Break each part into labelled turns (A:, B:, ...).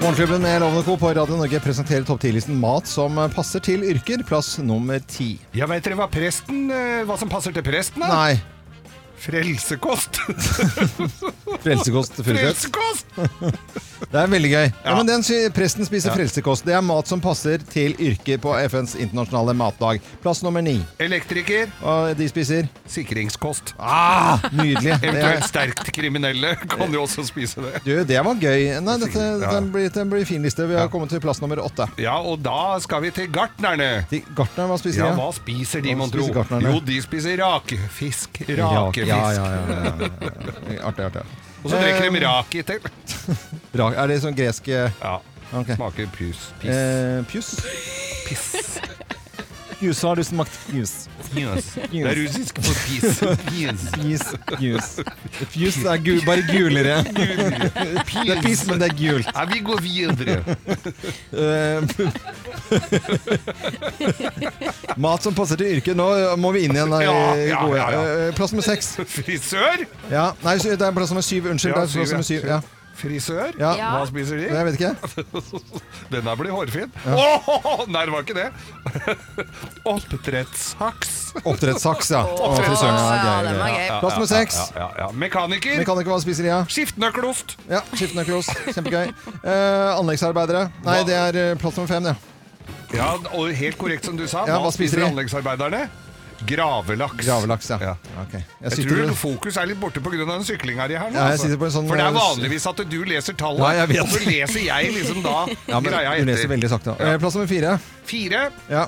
A: Morgenklubben med Lovende Co. på Radio Norge presenterer topp 10-listen mat som passer til yrker. Plass nummer ti.
B: Ja, vet dere hva presten eh, Hva som passer til presten? da?
A: Nei.
B: Frelsekost!
A: Frelsekost Furuseth.
B: Frelsekost!
A: Det er veldig gøy. Ja,
B: Ja.
A: men den sy- Presten spiser
B: Ja.
A: frelsekost. Det er mat som passer til yrket på FNs internasjonale matdag. Plass nummer ni.
B: Elektriker.
A: Og de spiser
B: Sikringskost.
A: ah, Nydelig. Det,
B: Eventuelt
A: er-
B: sterkt kriminelle kan jo også spise det.
A: du, det var gøy. Nei, dette,
B: Ja.
A: den, blir, den blir fin liste. Vi har kommet til plass nummer åtte.
B: Ja, og da skal vi til gartnerne.
A: De- Gartneren, hva spiser
B: Ja,
A: de?
B: hva spiser de,
A: Hva
B: mon tro?
A: spiser gartnerne?
B: Jo, de spiser rakefisk.
A: Ja,
B: Rakefisk.
A: ja, ja, ja, ja, ja, ja. Artig, artig.
B: Og så drikker de raki til.
A: Bra. Er det sånn gresk eh,
B: Ja.
A: Ok.
B: Smaker pus. Piss.
A: eh, pjus?
B: piss.
A: Pjus, har du smakt pjus?
B: Yes. Det er russisk for piss. Yes.
A: Pjus, pjus. Pjus er gu, bare gulere. Det er piss, men det er gult.
B: Ja, vi går videre.
A: Eh, Mat som passer til yrket. Nå må vi inn igjen. da, i
B: Ja, ja,
A: gode.
B: ja, ja.
A: Eh, Plass nummer seks.
B: Frisør?
A: Ja. Nei, sy- det er plass nummer syv. Unnskyld.
B: Ja,
A: det er plass
B: syv, ja.
A: nummer syv. Ja.
B: Frisør?
A: Ja.
B: Hva spiser de?
A: Jeg vet ikke.
B: Denne blir hårfin. Åh, nei, det var ikke det. Oppdrettssaks.
A: Oppdrettssaks, ja. Å, fy søren.
C: Ja,
A: Ja,
C: den
A: gøy,
C: var
A: gøy.
C: gøy.
A: Plass nummer seks.
B: Ja, ja, ja. Mekaniker.
A: Mekaniker, hva spiser de? Ja?
B: Skiftenøkkelost.
A: Ja, Skiftenøkkelos. Kjempegøy. Eh, anleggsarbeidere. Nei, det er eh, plass nummer fem. Ja.
B: Ja, og helt korrekt som du sa.
A: Ja,
B: hva
A: hva spiser
B: spiser
A: de?
B: anleggsarbeiderne? Gravelaks.
A: Gravelaks, ja.
B: Ja.
A: Ok.
B: Jeg,
A: sitter-
B: tror fokus er litt borte pga. den syklinga di her nå.
A: Ja, jeg
B: altså.
A: sitter på en sånn-
B: For det er vanligvis at du leser tallet,
A: Ja, jeg vet.
B: og så leser jeg liksom da
A: ja, men
B: greia
A: Du leser
B: etter.
A: veldig sakte.
B: Ja.
A: Eh, Plass nummer fire.
B: Fire.
A: Ja.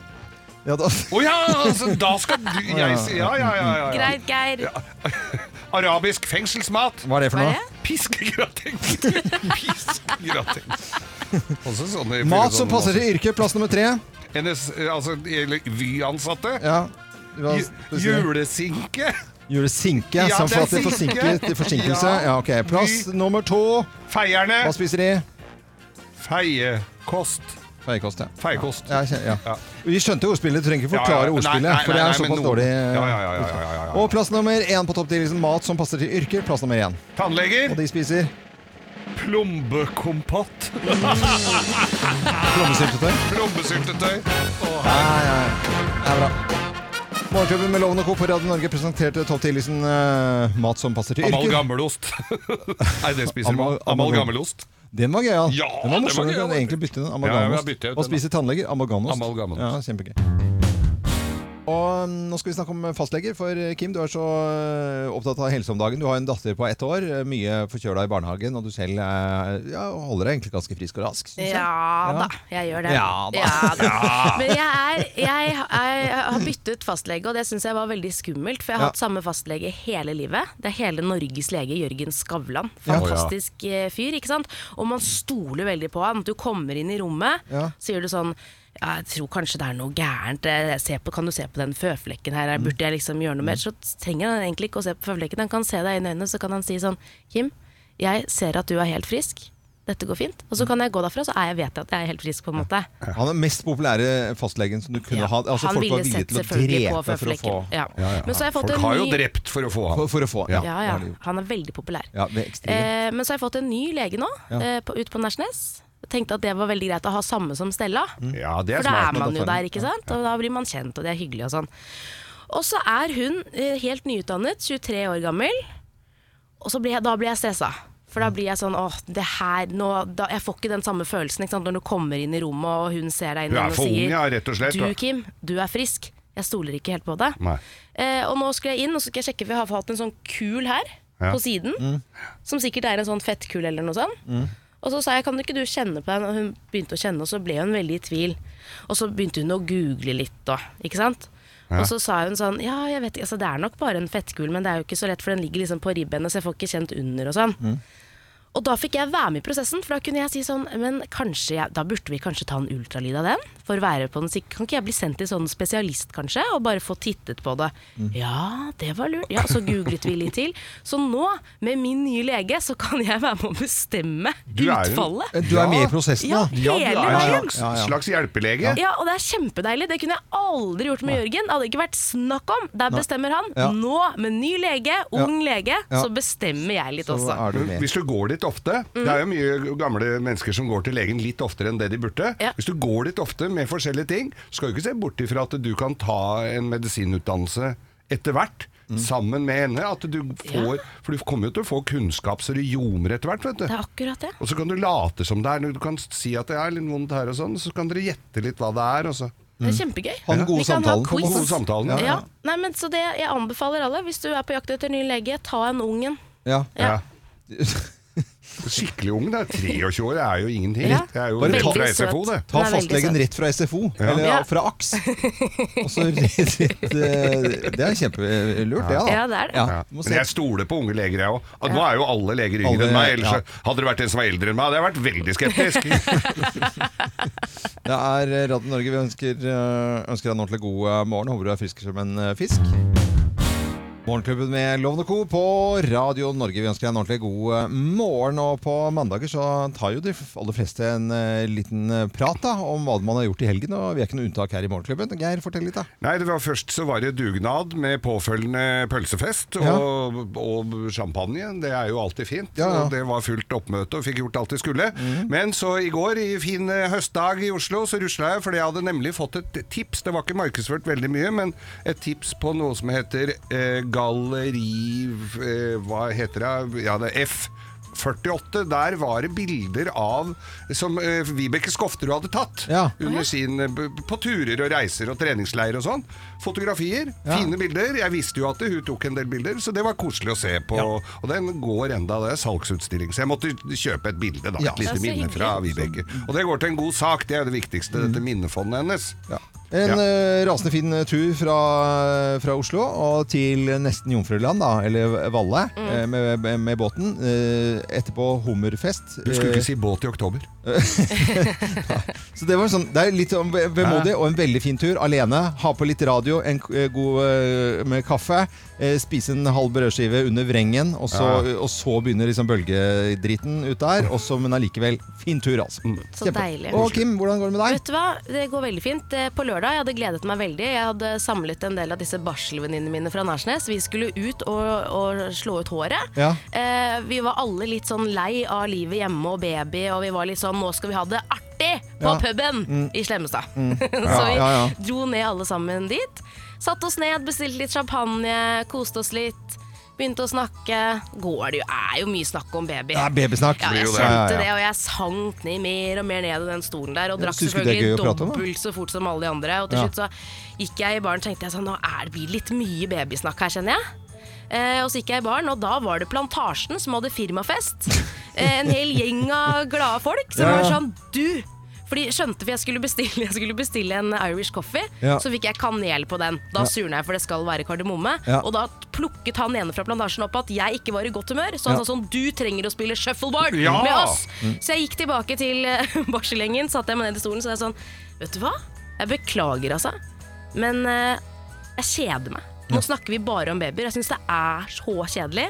A: ja da.
B: Å ja, altså, da skal du jeg si Ja, ja, ja. ja, ja.
C: Greit, Geir.
B: Arabisk fengselsmat.
A: Hva er det for
C: Hva er
A: noe?
C: det?
B: Piskegrateng. Piskegrateng. Også sånn sånne
A: Mat som passer til yrket. Plass nummer tre.
B: NS, altså, eller Vy-ansatte.
A: Ja. Hva
B: Ju-
A: spiser de?
B: Julesinke.
A: Julesinke.
B: Ja,
A: sånn
B: det er
A: for at de
B: sinke.
A: forsinker forsinkelse.
B: Ja.
A: Ja, ok. Plass nummer to.
B: Feierne.
A: Hva spiser de?
B: Feiekost.
A: Feiekost, ja.
B: Feiekost.
A: Ja, jeg kjen- ja.
B: Ja.
A: Vi skjønte ordspillet, du trenger ikke
B: Ja,
A: forklare
B: ja. Nei,
A: ordspillet.
B: nei,
A: for det er
B: nei, nei, men
A: såpass
B: noen-
A: dårlig.
B: Ja, ja, ja, ja, ja, ja, ja.
A: Og plass nummer én på topp 10-listen. Mat som passer til yrker. Plass nummer én. Og
B: Tannleger.
A: de spiser
B: Plombekompott.
A: plommesyltetøy.
B: Plombesyltetøy. Å,
A: Ja,
B: her-
A: ja, ja. Det er bra. Morgenklubben med Loven og Co. på Radio Norge presenterte topp 10-listen eh, mat som passer til yrker.
B: Amalgamelost. Nei, det spiser
A: Amal-
B: man. Amalgamelost.
A: Den var gøyal.
B: Ja,
A: den var
B: den
A: morsom.
B: var
A: Du
B: gøyal.
A: kan egentlig bytte den.
B: Ja, ja,
A: Amalgamost.
B: jeg bytter ut
A: og
B: den,
A: spise tannleger. Amalgamost.
B: Amalgamost.
A: Ja, kjempegøy. Og mm, nå skal vi snakke om fastleger, for eh, Kim, du er så eh, opptatt av helse om dagen. Du har en datter på ett år, eh, mye forkjøla i barnehagen, og du selv eh, ja, holder deg egentlig ganske frisk og rask. synes jeg.
C: Ja da, jeg gjør det.
A: Ja da.
C: Men jeg, er, jeg, jeg har byttet fastlege, og det syns jeg var veldig skummelt. For jeg har
A: Ja.
C: hatt samme fastlege hele livet. Det er hele Norges lege, Jørgen Skavlan. Fantastisk eh, fyr, ikke sant. Og man stoler veldig på han. Du kommer inn i rommet,
A: Ja.
C: så gjør du sånn ja, jeg tror kanskje det er noe gærent. Eh, Se på, kan du se på den føflekken her?
A: Mm.
C: Burde jeg liksom gjøre noe mer? Så trenger han egentlig ikke å se på føflekken. Han kan se deg inn i øynene, så kan han si sånn Kim, jeg ser at du er helt frisk. Dette går fint. Og så kan jeg gå derfra, så er jeg, vet jeg at jeg er helt frisk, på en måte.
A: Han er den mest populære fastlegen som du kunne
C: Ja.
A: ha. Altså, folk
C: han
A: var
C: ville
A: villige
C: sett
A: til å
C: selvfølgelig på
A: drepe for å få
C: føflekken. Ja.
B: Ja, ja.
C: Men så har jeg fått
B: Folk
C: en
B: har
C: ny
B: jo drept for å få
A: for,
B: ham.
A: for å få.
B: Ja.
C: ja, ja. Han er veldig populær.
A: Ja, det er ekstremt.
C: Eh, men så har jeg fått en ny lege nå, eh, på, ut på Nesjnes. Jeg Tenkte at det var veldig greit å ha samme som Stella.
B: Ja, Mm. det er
C: For da
B: smart.
C: er man
A: da
C: jo
A: får man-
C: der, ikke sant? Og da blir man kjent, og det er hyggelig og sånn. Og så er hun eh, helt nyutdannet, 23 år gammel, og så blir jeg, da blir jeg stressa. For
B: Mm.
C: da blir jeg sånn åh, det her nå da, Jeg får ikke den samme følelsen ikke sant? når du kommer inn i rommet og hun ser deg
B: Hun
C: inn i
B: er
C: øynene og
B: for ung,
C: sier
B: ja, rett og slett,
C: Du,
B: da.»
C: Kim, du er frisk. Jeg stoler ikke helt på deg.
B: Nei.
C: Eh, og nå skal jeg inn og så skal jeg sjekke, for jeg har hatt en sånn kul her
B: Ja.
C: på siden. Som sikkert er en sånn fettkul eller noe sånt. Og så sa jeg kan ikke du kjenne på den, og hun begynte å kjenne, og så ble hun veldig i tvil. Og så begynte hun å google litt og, ikke sant. Og så sa hun sånn ja, jeg vet ikke, altså det er nok bare en fettkul, men det er jo ikke så lett, for den ligger liksom på ribbenet, så jeg får ikke kjent under og sånn. Og da fikk jeg være med i prosessen, for da kunne jeg si sånn Men kanskje jeg, da burde vi kanskje ta en ultralyd av den? For å være på den sikre Kan ikke jeg bli sendt til sånn spesialist, kanskje? Og bare få tittet på det. Ja, det var lurt. Ja, så googlet vi litt til. Så nå, med min nye lege, så kan jeg være med å bestemme
B: Du er en-
C: utfallet.
A: Eh, Du er
B: Ja.
A: med i prosessen,
C: Ja,
A: da?
B: Ja, du
C: hele
B: er en
C: veien.
B: slags,
A: Ja, ja.
B: slags hjelpelege.
C: Ja, og det er kjempedeilig. Det kunne jeg aldri gjort med Jørgen. Det hadde ikke vært snakk om. Der bestemmer han.
A: Ja.
C: Nå, med ny lege, ung lege,
A: Ja.
C: så bestemmer jeg litt
A: Så
C: også.
A: er du med.
B: Mm. Hvis du går dit ofte
C: Mm.
B: Det er jo mye gamle mennesker som går til legen litt oftere enn det de burde.
C: Ja.
B: Hvis du går litt ofte med forskjellige ting, skal du ikke se bort ifra at du kan ta en medisinutdannelse etter hvert.
A: Mm.
B: Sammen med henne. At du får, For du kommer jo til å få kunnskap så du ljomer etter hvert. vet du
C: Det er akkurat det.
B: Og så kan du late som det er. Du kan si at det er litt vondt her, og sånn så kan dere gjette litt hva det er. Og så.
C: Det er kjempegøy.
A: Mm. Ha den gode
C: Vi kan ha
A: samtalen.
C: quiz.
B: Ha den gode samtalen, ja.
C: ja. Nei, men så det, jeg anbefaler alle, hvis du er på jakt etter ny lege, ta en ungen.
A: Ja.
C: Ja.
B: Skikkelig ung, da. 23 år er jo ingenting.
C: Ja.
B: Det er jo
A: Bare
B: rett
A: ta-
B: fra SFO, det.
A: Ta
C: Den er veldig
A: fastlegen
C: søt.
A: rett fra SFO,
C: Ja.
A: eller fra AKS. Og så rett, rett, eh, det er kjempelurt, det, da.
C: Ja, det er det.
B: Ja.
A: Må
B: Men
A: se.
B: jeg stoler på unge leger, jeg òg. Nå er jo alle leger yngre
A: Alle-
B: enn
A: ja.
B: meg. Ellers Hadde det vært en som var eldre enn meg, hadde jeg vært veldig skeptisk.
A: Det er Radio Norge. Vi ønsker, øh, ønsker deg en ordentlig god øh, morgen. Håper du er frisk som en øh, fisk. Morgenklubben med Lovende Co. på Radio Norge. Vi ønsker deg en ordentlig god øh, morgen. Og på mandager så tar jo de f- aller fleste en øh, liten øh, prat da, om hva man har gjort i helgen. Og vi er ikke noe unntak her i Morgenklubben. Geir, fortell litt, da.
B: Nei, det var Først så var det dugnad med påfølgende pølsefest
A: Ja.
B: og, og champagne. Det er jo alltid fint.
A: Ja, ja. Mhm.
B: Og det var fullt oppmøte og fikk gjort alt de skulle. Men så i går, i fin eh, høstdag i Oslo, så rusla jeg, for jeg hadde nemlig fått et tips. Det var ikke markedsført veldig mye, men et tips på noe som heter eh, galleri... Eh, hva heter det? Ja, det er F. 48, Der var det bilder av som eh, Vibeke Skofterud hadde tatt
A: Ja.
B: under sin, eh, b- på turer og reiser og treningsleir og sånn. Fotografier,
A: Ja.
B: fine bilder. Jeg visste jo at hun tok en del bilder, så det var koselig å se på. Og den går enda, det er salgsutstilling. Så jeg måtte kjøpe et bilde, da.
A: Ja. Mm.
B: Et
C: Det er
B: lite
C: så
B: minne
C: hyggelig.
B: fra Vibeke. Og det går til en god sak, det er jo det viktigste, dette minnefondet hennes.
A: En
B: Ja.
A: øh, rasende fin øh, tur fra, eh, fra Oslo og til nesten Jomfruland, da, eller Valle,
B: Mm.
A: øh, med, med, med båten. Øh, etterpå hummerfest.
B: Du skulle
A: Øh,
B: ikke si båt i oktober.
A: Så det var sånn, det er litt sånn ve- vemodig og en veldig fin tur. Alene, ha på litt radio, en k- eh, god eh, med kaffe, eh, spise en halv brødskive under vrengen, og så, og så begynner liksom bølgedritten ut der. Og så, men allikevel, fin tur, altså.
B: Mm.
C: Så deilig.
A: Og Kim, hvordan går det med deg?
C: Vet du hva, det går veldig fint. Eh, På lørdag, jeg hadde gledet meg veldig. Jeg hadde samlet en del av disse barselvenninnene mine fra Nærsnes. Vi skulle ut og, og slå ut håret.
A: Ja.
C: Eh, vi var alle litt sånn lei av livet hjemme og baby, og vi var litt sånn nå skal vi ha det artig på
A: Ja. Mm.
C: puben i Slemmestad. Så vi
A: Ja, ja.
C: dro ned alle sammen dit. Satt oss ned, bestilte litt champagne, koste oss litt. Begynte å snakke. Går det jo, er jo mye snakk om baby.
A: Det er babysnakk.
C: Ja, jeg
B: jo det.
C: skjønte det, og jeg sank ned mer og mer ned i den stolen der. Og
A: Ja, synes
C: drakk
A: du det er
C: selvfølgelig
A: gøy å prate om, da?
C: dobbelt så fort som alle de andre. Og til
A: Ja.
C: slutt så gikk jeg i baren og tenkte jeg sånn, nå er det blir litt mye babysnakk her, kjenner jeg. Eh, og så gikk jeg i baren, og da var det Plantasjen som hadde firmafest. Eh, en hel gjeng av glade folk som
A: Ja.
C: var sånn Du! For de skjønte for jeg skulle bestille, jeg skulle bestille en Irish coffee.
A: Ja.
C: Så fikk jeg kanel på den. Da surna jeg, for det skal være kardemomme.
A: Ja.
C: Og da plukket han ene fra Plantasjen opp at jeg ikke var i godt humør. Så han
A: Ja.
C: sa sånn Du trenger å spille shuffleboard
B: Ja!
C: med oss!
A: Mm.
C: Så jeg gikk tilbake til eh, barselengen, satte jeg meg ned i stolen, så jeg sånn Vet du hva? Jeg beklager, altså. Men eh, jeg kjeder meg. Nå snakker vi bare om babyer. Jeg syns det er så kjedelig.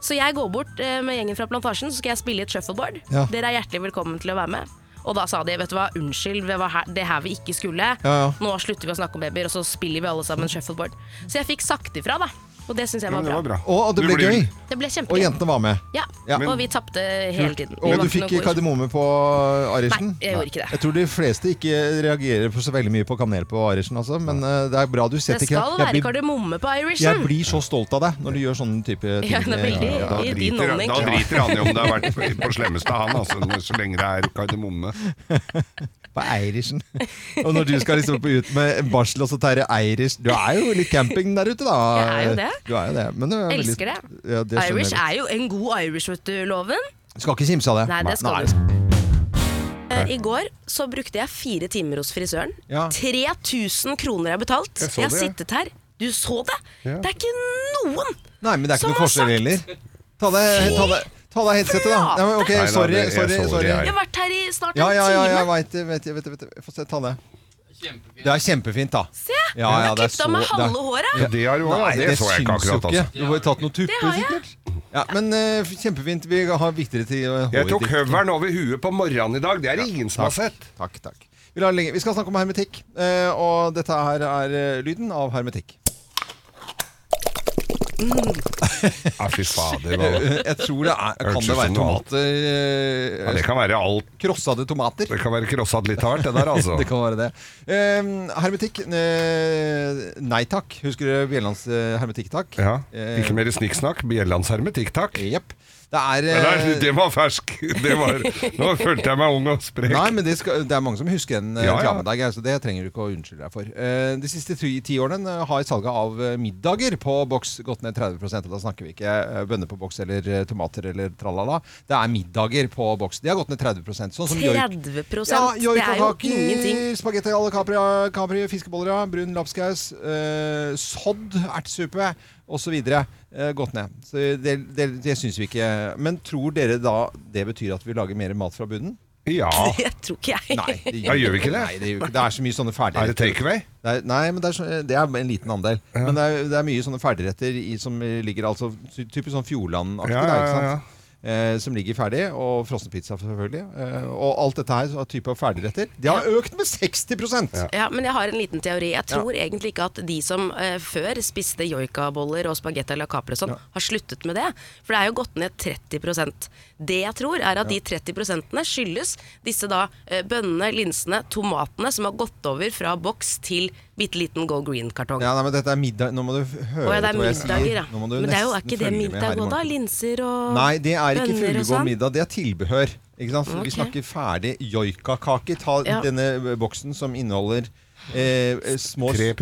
C: Så jeg går bort eh, med gjengen fra Plantasjen, så skal jeg spille et shuffleboard.
A: Ja.
C: Dere er hjertelig velkommen til å være med. Og da sa de vet du hva, unnskyld, det var her, det her vi ikke skulle.
A: ja.
C: Nå slutter vi å snakke om babyer, og så spiller vi alle sammen shuffleboard. Så jeg fikk sagt ifra, da. Og det syns jeg
B: Men
C: var
B: det
C: bra.
B: var bra.
A: Og, og det
B: Du
A: ble
B: blir-
A: gøy.
C: Det ble
A: Og
C: kjempegøy.
A: jentene var med.
C: Ja,
A: Ja.
C: og vi tapte hele tiden. Vi
A: Og
C: var
A: du
C: ikke
A: fikk
C: noe gode.
A: kardemomme på Arisen?
C: Nei, jeg gjorde ikke det.
A: Jeg tror de fleste ikke reagerer på så veldig mye på kanel på Arisen, altså, men eh, det er bra du
C: Det
A: setter
C: skal
A: Jeg
C: være
A: blir-
C: kardemomme på
A: Jeg
C: Irishen.
A: blir så stolt av deg når du gjør sånne type ting. eh,
C: Ja, det er veldig
A: Ja,
B: Da
C: i din
B: driter,
C: ånd,
B: da
C: egentlig.
B: driter han i om det har vært på- på slemmeste, han, altså, så lenge det er kardemomme.
A: På Eirishen. Og når du skal liksom på ut med barsel og så terre Eirish Du er jo litt camping der ute, da.
C: Jeg er jo det.
A: Du er jo det. Men du er veldig-
C: Elsker det.
A: Ja, det skjønner
C: Irish
A: jeg.
C: er jo en god Irish, vet du, loven.
A: Skal ikke kimse av det.
C: Nei, det skal
A: nei.
C: du. Eh, I går så brukte jeg fire timer hos frisøren.
A: Ja.
C: 3000 kroner jeg har betalt.
B: Jeg
C: Jeg,
B: så
C: har
B: det, jeg.
C: sittet her. Du så det!
B: Ja.
C: Det er ikke noen!
A: Nei, men det er
C: Som
A: ikke noe
C: har
A: forskjell heller. Ta deg ta deg- ta deg headsetet, da. Nei, men, ok,
B: Nei, nei,
A: sorry,
B: det er
A: sorry,
B: sorry,
A: sorry.
B: jeg.
C: Jeg har vært her i snart en
A: Ja, ja, ja, jeg
C: time.
A: veit det. Vet, jeg, vet, jeg, vet, jeg. Få se, ta det. Det er kjempefint, da.
C: Se!
A: Ja, ja,
C: jeg har
A: det er
C: klippet av meg
A: så- det er-
C: halve håret.
B: Ja, det har du òg.
A: Nei,
B: Det, så jeg ikke
A: syns jo
B: akkurat. Altså.
A: ikke. Du har jo tatt noen
C: Det
A: tupper,
C: har jeg.
A: sikkert. Ja, men eh, kjempefint. Vi har viktigere til eh, å
B: Jeg tok høvelen over huet på morgenen i dag. Det er det ingen som har sett.
A: Takk, takk. Vi, lar det ligge. vi skal snakke om hermetikk, eh, og dette her er eh, lyden av hermetikk.
B: Ja, fy fader. hva-
A: Eh, Jeg tror det er
B: Hørtes
A: Kan
B: ut
A: det
B: som
A: være
B: noe annet. Ja,
A: tomater
B: det
A: eh,
B: kan være alt.
A: Krossede tomater?
B: Det kan være krosset litt hardt, det der, altså.
A: Det kan være det. Eh, hermetikk eh, Nei takk. Husker du Bjellands eh, hermetikk takk?
B: Ja.
A: Eh,
B: Ikke mer snikksnakk. Bjellands hermetikk, takk.
A: Jepp. Det er eh,
B: Nei, det var fersk. Det var, nå følte jeg meg ung og sprek.
A: Nei, men det, skal, det er mange som husker den eh,
B: Ja, ja.
A: reklamen der, Geir, så det trenger du ikke å unnskylde deg for. Eh, de siste ti, ti årene eh, har salget av eh, middager på boks gått ned 30 og Da snakker vi ikke eh, bønner på boks eller eh, tomater eller tralala. Det er middager på boks. De har gått ned 30 Sånn som joik.
C: 30
A: joik
C: Det er jo
A: og kaker,
C: ingenting.
A: Spagetti à la capri, capri fiskeboller, ja, brun lapskaus, eh, sodd, ertesuppe osv. Eh, gått ned. Så det det, det syns vi ikke. Men tror dere da det betyr at vi lager mer mat fra bunnen?
B: Ja.
A: Ah.
C: Det tror ikke jeg.
A: Nei, det
B: Ja, gjør vi ikke det?
A: Nei, det, gjør vi ikke. det er så mye sånne
B: Er det
A: ferdigretter.
B: takeaway?
A: Det er, nei, men det er, så- det er en liten andel. Men det er, det er mye sånne ferdigretter i, som ligger altså ty- Typisk sånn Fjordland-aktig,
B: Ja,
A: da,
B: ja,
A: ikke
B: ja,
A: sant? Eh, som ligger ferdig. Og frossenpizza, selvfølgelig. Eh, og alt dette her av type av ferdigretter. De har økt med 60
C: Ja, men jeg har en liten teori. Jeg tror egentlig ikke at de som eh, før spiste joikaboller og spagetti eller capri og sånn, har sluttet med det. For det er jo gått ned 30 Det jeg tror, er at de 30 skyldes disse da eh, bønnene, linsene, tomatene som har gått over fra boks til bitte liten Go Green-kartong.
A: Ja, nei, men dette er middag Nå må du f- høre
C: Å ja, det er
A: etter hva jeg sier.
C: middager, ja.
A: Nå må du
C: Men det er jo er
A: nesten
C: ikke det
A: følge med her i
C: middag òg, da?
A: morgen.
C: Linser og
A: Nei, det er ikke
C: bønner og
A: fullgod
C: sånn?
A: middag. Det er tilbehør. Ikke sant? For
C: Ok.
A: Vi snakker ferdig joikakake. Ta
C: Ja.
A: denne boksen som inneholder eh, eh, små
B: 3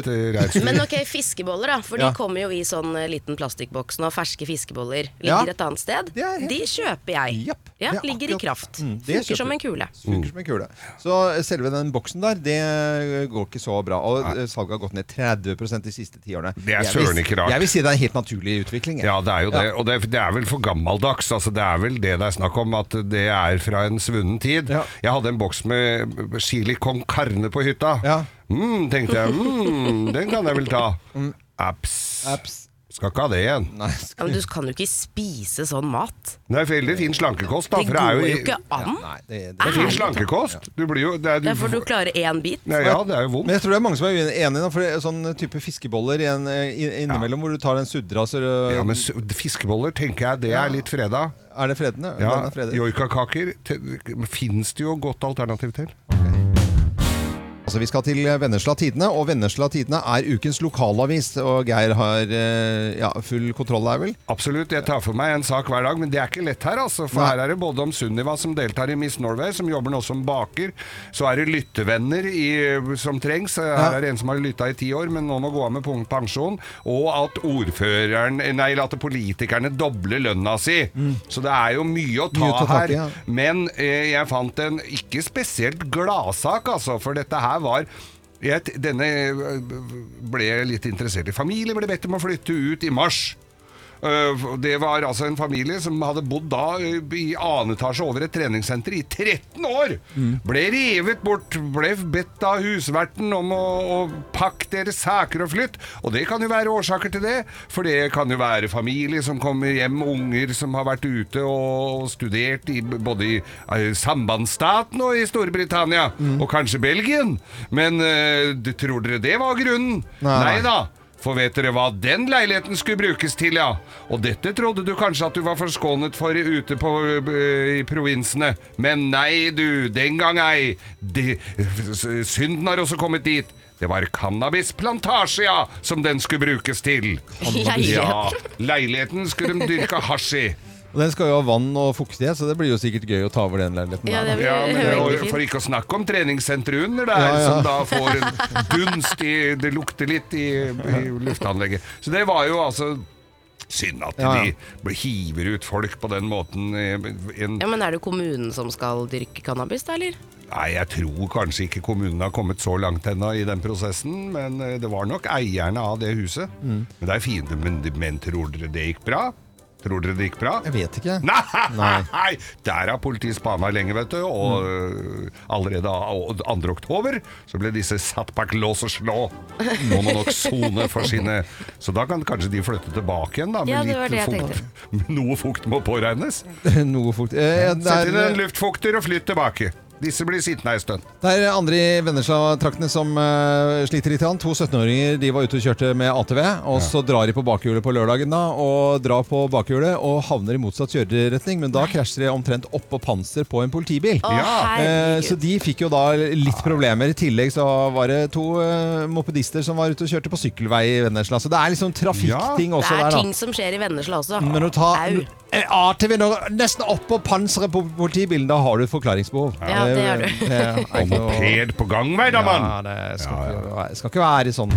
B: reinsdyr.
C: Men ok, fiskeboller da, for
A: Ja.
C: de kommer jo i sånn eh, liten plastikkboks nå, ferske fiskeboller.
A: Ja.
C: Ligger et annet sted.
A: Det er helt-
C: De kjøper jeg.
A: Japp,
C: Ja,
A: det er
C: ligger i
A: akkurat-
C: kraft.
A: Mm, det kjøper
C: Funker som
A: du.
C: en kule.
B: Mm.
A: Funker som en kule. Så selve den boksen der, det går ikke så bra. Og eh, salget har gått ned 30 de siste ti årene.
B: er
A: Jeg vil-
B: søren ikke rart.
A: Jeg vil si det er en helt naturlig utvikling. jeg.
B: Ja, det er jo det. Og det, det er vel for gammeldags. Altså, det er vel det det er snakk om, at det er fra en svunnen tid.
A: Ja.
B: Jeg hadde en boks med chili con carne på hytta.
A: Ja.
B: Mm, tenkte jeg. Mm, den kan jeg vel ta. Apps.
A: Mm. Apps.
B: Skal ikke ha det igjen.
A: Nei, sk-
C: Ja, men du kan jo ikke spise sånn mat.
B: Det er veldig fin slankekost, da.
C: Det
B: For det
C: går
B: er
C: jo
B: jo
C: ikke an.
A: nei, det,
B: det er fin
A: det.
B: slankekost. Du blir jo det er,
C: Derfor du klarer én bit.
B: Nei, ja, det er jo
A: Men
B: vondt.
A: jeg tror det er mange som er uenige, da, for det er sånn type fiskeboller igjen, eh, i- innimellom hvor du tar en suddra, så eh,
B: Ja, men s- fiskeboller tenker jeg det er litt freda.
A: er det fredende.
B: Ja,
A: Den er fredet.
B: Joikakaker fins det jo godt alternativ til.
A: Altså, vi skal til Vennesla Tidene, og Vennesla Tidene er ukens lokalavis. Og Geir har eh, ja, full kontroll der, vel?
B: Absolutt. Jeg tar for meg en sak hver dag, men det er ikke lett her, altså. For
A: Nei.
B: her er det både om Sunniva, som deltar i Miss Norway, som jobber nå som baker. Så er det lyttevenner i, som trengs. Her er det en som har lytta i ti år, men nå må gå av med punkt pensjon. Og at ordføreren Nei, eller at politikerne dobler lønna si. Så det er jo mye å ta,
A: Mye å ta tak i,
B: her.
A: ja.
B: Men eh, jeg fant en ikke spesielt gladsak, altså, for dette her var jeg, Denne eh, ble jeg litt interessert i. Familie ble bedt om å flytte ut i mars. Eh, Det var altså en familie som hadde bodd da eh, i annen etasje over et treningssenter i 13 år.
A: Mm.
B: Ble revet bort, ble bedt av husverten om å, å pakke deres saker og flytt. Og det kan jo være årsaker til det, for det kan jo være familie som kommer hjem, unger som har vært ute og, og studert i, både i eh, sambandsstaten og i Storbritannia,
A: Mm.
B: og kanskje Belgien. Men eh, d- tror dere det var grunnen?
A: Nei, nei.
B: nei da. For vet dere hva den leiligheten skulle brukes til, ja? Og dette trodde du kanskje at du var forskånet for ute på, øh, i provinsene. Men nei, du, den gang ei. De, s- synden har også kommet dit. Det var cannabisplantasje, ja, som den skulle brukes til.
C: Leilighet.
B: Ja, leiligheten skulle de dyrke hasj i.
A: Og den skal jo ha vann og fuktighet, så det blir jo sikkert gøy å ta over den leiligheten.
C: Ja,
A: der, da.
C: det
B: Ja, men
C: Eh, hører
B: og,
C: ikke
B: For
C: fint.
B: ikke å snakke om treningssenteret under der,
A: Ja, ja.
B: som da får en dunst i Det lukter litt i, i luftanlegget. Så det var jo altså synd at
A: Ja, ja.
B: de hiver ut folk på den måten. eh, En,
C: Ja, men er det kommunen som skal dyrke cannabis da, eller?
B: nei, jeg tror kanskje ikke kommunen har kommet så langt ennå i den prosessen, men eh, det var nok eierne av det huset.
A: Mm.
B: Men det er fint. Men, men tror dere det gikk bra? Tror dere det gikk bra?
A: Jeg vet ikke.
B: Nei!
A: Nei.
B: Der har politiet spana lenge, vet du. Og øh, allerede av- 2. oktober så ble disse satt bak lås og slå. Nå må nok sone for sine Så da kan kanskje de flytte tilbake igjen, da.
C: Ja, det var det jeg
B: fukt. Noe fukt må påregnes.
A: Noe fukt... Eh, det
B: Sett inn
A: er,
B: en
A: eh,
B: luftfukter og flytt tilbake. Disse blir sittende ei stund.
A: Det er andre i Vennesla-traktene som eh, sliter litt. grann. To 17-åringer de var ute og kjørte med ATV, og så drar de på bakhjulet på lørdagen da, og drar på bakhjulet og havner i motsatt kjøreretning, men da krasjer de omtrent oppå panser på en politibil.
C: Å,
A: Eh,
B: Ja.
C: herregud. Ah.
A: Så de fikk jo da litt problemer. I tillegg så var det to eh, mopedister som var ute og kjørte på sykkelvei i Vennesla. Så det er liksom trafikkting også
C: det er
A: der, da.
C: ting som skjer i Vennesla også.
A: Men å ta
C: Au.
A: Eh, ATV nå- nesten oppå panseret på politibilen, da har du et forklaringsbehov. Eh,
C: Ja, det har du.
A: det er
B: Og
A: ikke noe-
B: moped på gangvei, da, mann!
A: ja, det skal,
B: Ja, ja.
A: Ikke, være- skal ikke være sånn.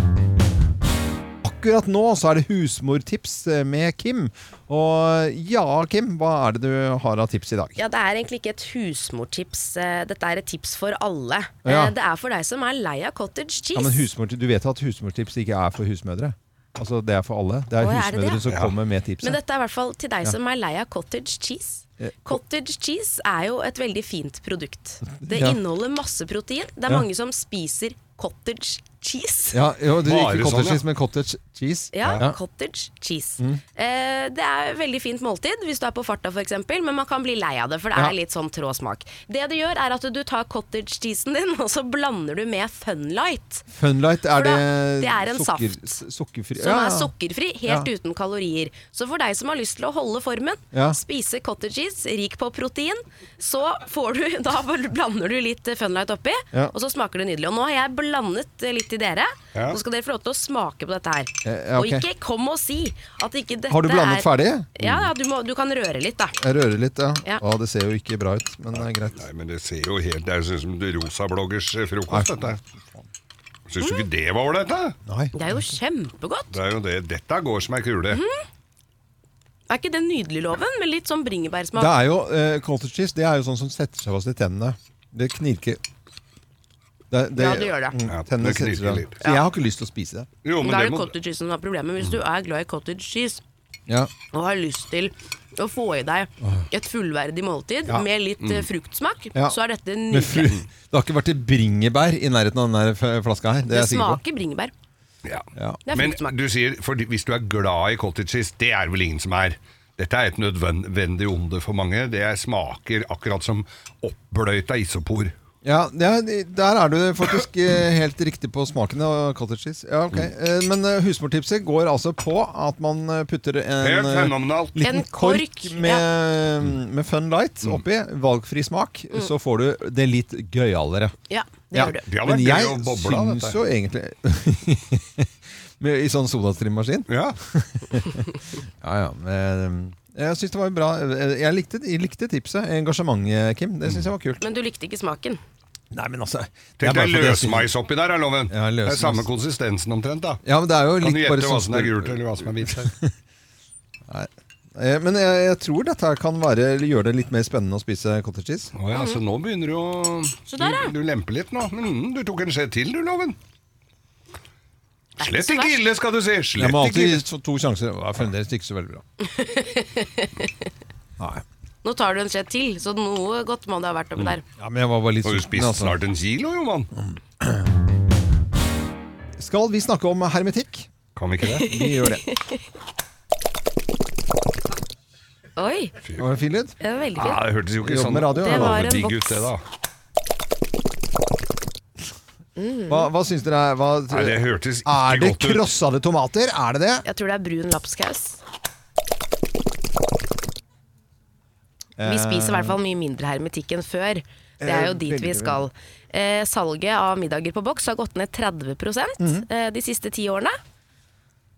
A: Akkurat nå så er det husmortips eh, med Kim. Og ja, Kim, hva er det du har av tips i dag?
C: Ja, Det er egentlig ikke et husmortips. eh, Dette er et tips for alle.
A: Ja.
C: Eh, Det er for deg som er lei av cottage cheese.
A: Ja, men husmor, Du vet at husmortips ikke er for husmødre? Altså, Det er for alle. Det er
C: Å, er det
A: husmødre
C: det?
A: som kommer med tipset.
C: Men dette er i hvert fall til deg som er lei av cottage cheese.
A: Eh,
C: Cottage cheese er jo et veldig fint produkt. Det
A: Ja.
C: inneholder masse protein. Det er
A: Ja.
C: mange som spiser cottage cheese.
A: ja, jo, du,
B: Bare
A: ikke cottage
B: sånn, ja.
A: cheese, men cottage cheese.
C: Ja, cottage cheese.
A: Mm.
C: Eh, det er et veldig fint måltid hvis du er på farta f.eks., men man kan bli lei av det, for det
A: Ja.
C: er litt sånn trå smak. Det du gjør, er at du tar cottage cheesen din, og så blander du med Funlight.
A: Funlight, er det,
C: det- det er en
A: s- Sukkerfri
C: som
A: ja,
C: er sukkerfri, helt
A: Ja.
C: uten kalorier. Så for deg som har lyst til å holde formen,
A: Ja.
C: spise cottage cheese, rik på protein, så får du, da blander du litt eh, Funlight oppi,
A: Ja.
C: og så smaker det nydelig. Og nå har jeg blandet eh, litt til dere,
B: Ja.
C: så skal dere få lov til å smake på dette her.
A: Eh, Ja, ja, ok.
C: Og ikke kom og si at ikke dette er
A: Har du blandet ferdig?
C: Ja, ja du, må, du kan røre litt, da.
A: Jeg rører litt, ja.
C: Ja.
A: Å, det ser jo ikke bra ut, men det er greit.
B: Nei, men det ser jo helt Det er sånn som det rosa bloggers eh, frokost, dette. Syns du ikke det var ålreit, da?
A: Nei.
C: Det er jo kjempegodt.
B: Det er jo det. Dette går som ei kule.
C: Mhm. Er ikke det nydelig, Loven? Med litt sånn bringebærsmak.
A: Det er jo, eh, cottage cheese det er jo sånn som setter seg fast i tennene. Det knirker. Det,
C: Ja, det gjør det.
A: Mm,
B: Ja,
A: tennene
B: det knirker
A: setter seg.
B: litt.
A: Så jeg har ikke lyst til å spise det.
B: Jo, men
C: Da
B: det
C: er det
B: må
C: cottage cheese som er problemet. Hvis du er glad i cottage cheese,
A: Ja.
C: og har lyst til å få i deg et fullverdig måltid med litt eh, fruktsmak,
A: Ah. Ja.
C: så er dette
A: Men fru,
C: nydelig.
A: det har ikke vært et bringebær i nærheten av den der f- flaska her. Det er
C: Det
A: jeg sikker på.
C: smaker bringebær.
B: ja.
A: Ja.
C: Det er
B: Men
C: fruktsmak.
B: du sier, for hvis du er glad i cottage cheese, det er det vel ingen som er. Dette er et nødvendig onde for mange. Det smaker akkurat som oppbløyta isopor.
A: Ja, det er, der er du faktisk eh, helt riktig på smaken av cottage cheese. Ja, ok. Eh, Men eh, husmortipset går altså på at man eh, putter en
B: Helt
A: eh,
B: fenomenalt.
A: liten
C: En
A: kork,
C: kork,
A: med, mm, med Fun Light
B: Mm.
A: oppi, valgfri smak, så får du det litt gøyalere.
C: Ja, Mm. det
A: Ja.
C: gjør du.
B: Det hadde
A: Men
B: vært
A: jeg
B: gøy å boble av
A: syns
B: dette.
A: jo egentlig Med- I sånn sodastrimmaskin?
B: Ja.
A: Ja ja. men, eh, Jeg syns det var bra. eh, Jeg likte, jeg likte tipset. Engasjementet, Kim. Det syns jeg var kult.
C: Men du likte ikke smaken.
A: Nei, men altså det er
B: Tenk
A: bare
B: deg
A: fordi jeg syns-
B: løsmeis oppi der, er loven.
A: Ja,
B: det
A: løsmeis.
B: er samme konsistensen omtrent, da.
A: Ja, men det er jo
B: Kan du
A: litt bare
B: gjette hva
A: sånn
B: som er gult, eller hva som er hvitt? her?
A: Eh, Men jeg, jeg tror dette her kan være, gjøre det litt mer spennende å spise cottage cheese.
B: Å ja, så nå begynner du å
C: Så der, ja.
B: du, du lemper litt nå. Mm, du tok en skje til, du, Loven.
C: Det er
B: Slett
C: så
B: ikke
C: verst.
B: ille, skal du si.
A: Jeg
B: Slett
A: må
B: ikke ille.
A: alltid to, to sjanser. Det var fremdeles ikke så veldig bra. Nei.
C: Nå tar du en skje til, så noe godt må det ha vært oppi der.
A: Ja, men jeg var bare litt
B: Du har jo
A: sulten,
B: spist
A: altså.
B: snart en kilo, jo, mann.
A: Skal vi snakke om hermetikk?
B: Kan vi ikke det?
A: Vi gjør det.
C: Oi,
A: Var det fin lyd?
C: det var veldig
B: Ja,
C: fint.
B: det hørtes jo ikke
A: Jobber
B: sånn
A: med radio,
C: Det
A: ja.
C: var en
B: digg ut,
C: voks.
B: det, da.
A: Hva, hva syns dere er hva,
B: Mm. Nei, det hørtes ikke
A: Er det
B: godt ut.
A: krossade tomater? Er det det?
C: Jeg tror det er brun lapskaus. Vi spiser i hvert fall mye mindre hermetikk enn før. Det er
A: Eh,
C: jo dit vi
A: veldig
C: skal. Eh, salget av middager på boks har gått ned 30
A: Mhm.
C: eh, de siste ti årene.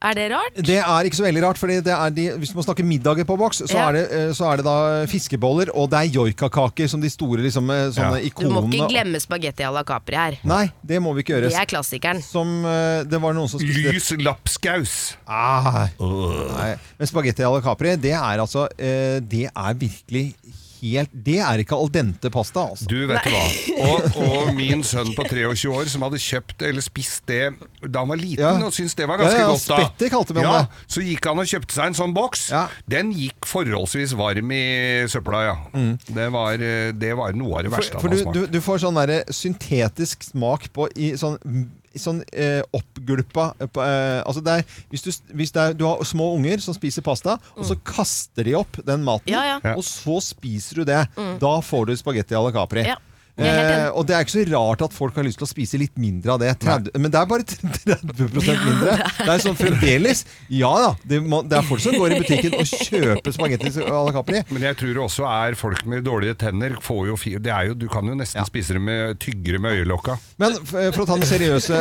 C: Er det rart?
A: Det er ikke så veldig rart, fordi det er de, hvis man snakker middager på boks, så,
C: Ja.
A: er, det, eh, så er det da fiskeboller, og det er joikakaker som de store liksom, eh, sånne
B: Ja.
C: Du må
A: ikonene.
C: ikke glemme spagetti à la Capri her.
A: Nei, det må vi ikke
C: Det
A: gjøre.
C: er klassikeren.
A: Som eh, det var noen som spiste
B: Lys lapskaus.
A: Ah, nei. Men spagetti à la Capri, det er altså eh, Det er virkelig helt Det er ikke al dente pasta, altså.
B: Du, vet du hva. Og, og min sønn på 23 år som hadde kjøpt eller spist det da han var liten
A: Ja.
B: og syntes det var
A: Ja,
B: ganske
A: ja,
B: godt da.
A: spetter kalte man det.
B: Så gikk han og kjøpte seg en sånn boks.
A: Ja.
B: Den gikk forholdsvis varm i søpla, ja. Det, var, eh, det var noe av det verste
A: Mm. For, for du,
B: han har smakt.
A: du, du får sånn der syntetisk smak på i sånn i Sånn eh, oppgulpa eh, på, eh, altså det er, Hvis, du, hvis det er, du har små unger som spiser pasta, og så kaster de opp den maten,
C: Mm. Ja, ja.
B: Ja.
A: og så spiser du det. Da får du spagetti à la Capri.
C: Ja. Jeg er helt enig.
A: Eh, og det er ikke så rart at folk har lyst til å spise litt mindre av det. 30, men det er bare 30 mindre. Det er sånn fremdeles. Ja da, det, må, det er folk som går i butikken og kjøper spagetti à la Capri.
B: Men jeg tror det også er folk med dårlige tenner får jo fi- det er jo, Du kan jo nesten spise det med tyggere med øyelokka.
A: Men f- eh, for å ta den seriøse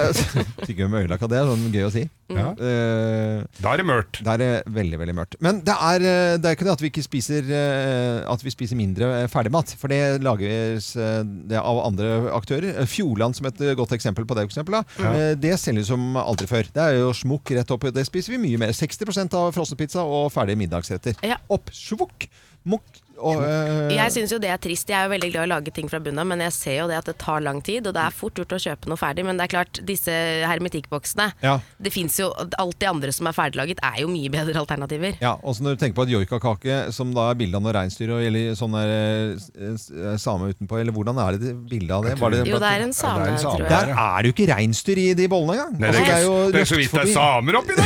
A: Tygge med øyelakka, det er sånn gøy å si.
C: Mm.
B: Ja.
A: Eh,
B: Da er det mørkt.
A: Det er eh, veldig veldig mørkt. Men det er, eh, det er ikke det at vi ikke spiser eh, At vi spiser mindre eh, ferdigmat. For det lages eh, det av andre aktører. Eh, Fjordland som et eh, godt eksempel på det. for Eksempel, da. Eh, Det selges som aldri før. Det er jo smokk rett opp. Det spiser vi mye mer. 60 av frossenpizza og ferdige middagsretter.
C: Ja.
A: Opp svokk, mokk og eh,
C: Jeg syns jo det er trist. Jeg er jo veldig glad i å lage ting fra bunnen av, men jeg ser jo det at det tar lang tid, og det er fort gjort å kjøpe noe ferdig. Men det er klart, disse hermetikkboksene
A: Ja.
C: Det fins jo Alt det andre som er ferdiglaget, er jo mye bedre alternativer.
A: Ja, og så Når du tenker på et joikakake, som da er bilde av noe reinsdyr og eller sånn der, eh, s- eh, same utenpå, eller hvordan er det bildet av det? Var det
C: Jo, det er en same,
B: det er en same.
C: tror jeg.
A: Der er det jo ikke reinsdyr i de bollene engang.
B: Nei, det,
A: Altså,
B: er jo det er så
A: løpt
B: vidt det er
A: forbi.
B: samer oppi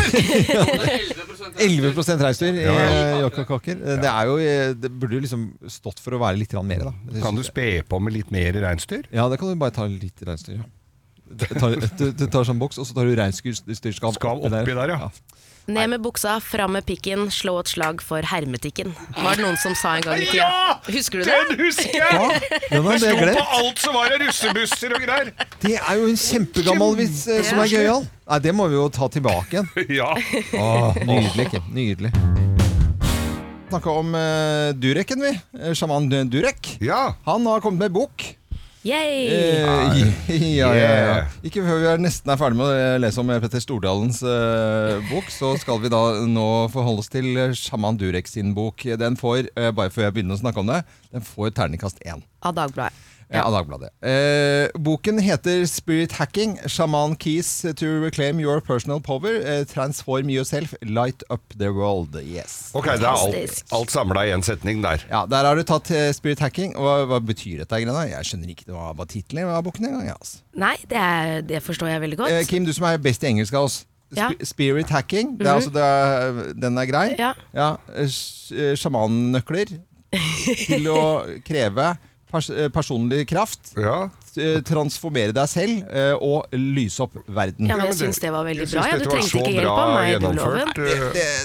B: der!
A: 11 reinsdyr i
B: Ja, ja.
A: eh, joikakaker. Det, er jo, eh, det burde jo liksom stått for å være litt grann mer, da. Det
B: Kan du
A: synes jeg.
B: spe på med litt mer reinsdyr?
A: Ja, det kan du bare ta litt reinsdyr, ja. Du tar, du, du tar sånn boks, og så tar du reinsdyrskav
B: Skav oppi der, ja.
C: Ned med buksa, fram med pikken, slå et slag for hermetikken. Var det noen som sa en gang i tida?
B: Ja!
C: Husker du
B: Den
C: det?
B: husker jeg!
A: Ja, den
B: Det
A: hadde
B: sto
A: jeg
B: på
A: glemt.
B: alt som var av russebusser og greier.
A: Det er jo en kjempegammel vits eh, som er gøyal. Nei, det må vi jo ta tilbake igjen.
B: Ja.
A: Åh, nydelig, Kim. Nydelig. Snakka om eh, Dureken, vi. Eh, Sjaman Durek.
B: ja.
A: Han har kommet med bok.
C: Yay!
A: Eh, ja, ja, ja.
B: Yeah.
A: Ikke før vi er nesten er ferdig med å eh, lese om Petter Stordalens eh, bok, så skal vi da nå forholde oss til Sjaman Durek sin bok. Den får, eh, bare før jeg begynner å snakke om det, den får terningkast én.
C: Av Dagbladet.
A: eh, Av Dagbladet. Eh, boken heter 'Spirit Hacking Shaman Keys to Reclaim Your Personal Power'. eh, 'Transform Yourself. Light Up The World'. Yes.
B: Ok, det er alt,
C: Fantastisk.
B: alt samla i én setning der.
A: Ja, Der har du tatt eh, spirit hacking. Og hva, hva betyr dette? greiene? Jeg skjønner ikke hva, hva tittelen var boken engang. jeg, Altså.
C: Nei, det, er, det forstår jeg veldig godt.
A: Eh, Kim, du som er best i engelsk av oss. Sp
C: Ja. Mhm.
A: Spirit hacking. Det er altså det er, den er grei.
C: Ja.
A: eh, sj- eh, Sjamannøkler til å kreve pers eh, personlig kraft.
B: Ja.
A: eh, Transformere deg selv eh, og lyse opp verden.
C: Ja, men jeg
B: det-
C: syns det var veldig
B: jeg
C: bra.
B: syns
C: Ja,
B: dette
C: du
B: var
C: trengte
B: så
C: ikke hjelp
B: bra
C: av meg, du,
B: gjennomført.
C: Loven.
B: Eh,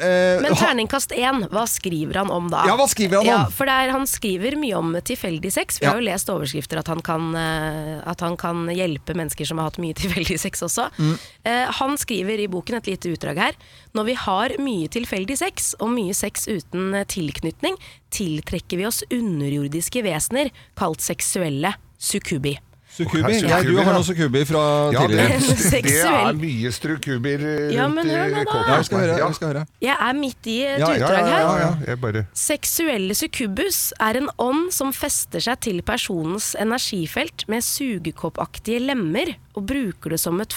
A: Eh,
C: Men
A: ha-
C: terningkast én, hva skriver han om da?
A: Ja, hva skriver han om?
C: Ja, for det er, Han skriver mye om tilfeldig sex. Vi
A: Ja.
C: har jo lest overskrifter at han, kan, eh, at han kan hjelpe mennesker som har hatt mye tilfeldig sex også.
A: Mm.
C: Eh, han skriver i boken et lite utdrag her. Når vi har mye tilfeldig sex, og mye sex uten eh, tilknytning, tiltrekker vi oss underjordiske vesener, kalt seksuelle sukkubi.
A: Sukubi.
B: Ok,
A: Ja, du
B: Sukubi,
A: har
B: ja.
A: noe Sukubi fra
B: ja, det,
A: tidligere.
B: det er
C: Seksuell.
B: mye strukuber rundt
C: Ja, men hør nå
B: i
C: da.
A: Ja, vi skal høre.
B: Ja.
A: Vi skal høre.
C: Jeg er midt i eh, et
A: Ja, ja,
C: utdrag her.
B: Ja, ja, jeg bare
C: Seksuelle succubus er en ånd som fester seg til personens energifelt med sugekoppaktige lemmer og bruker det som et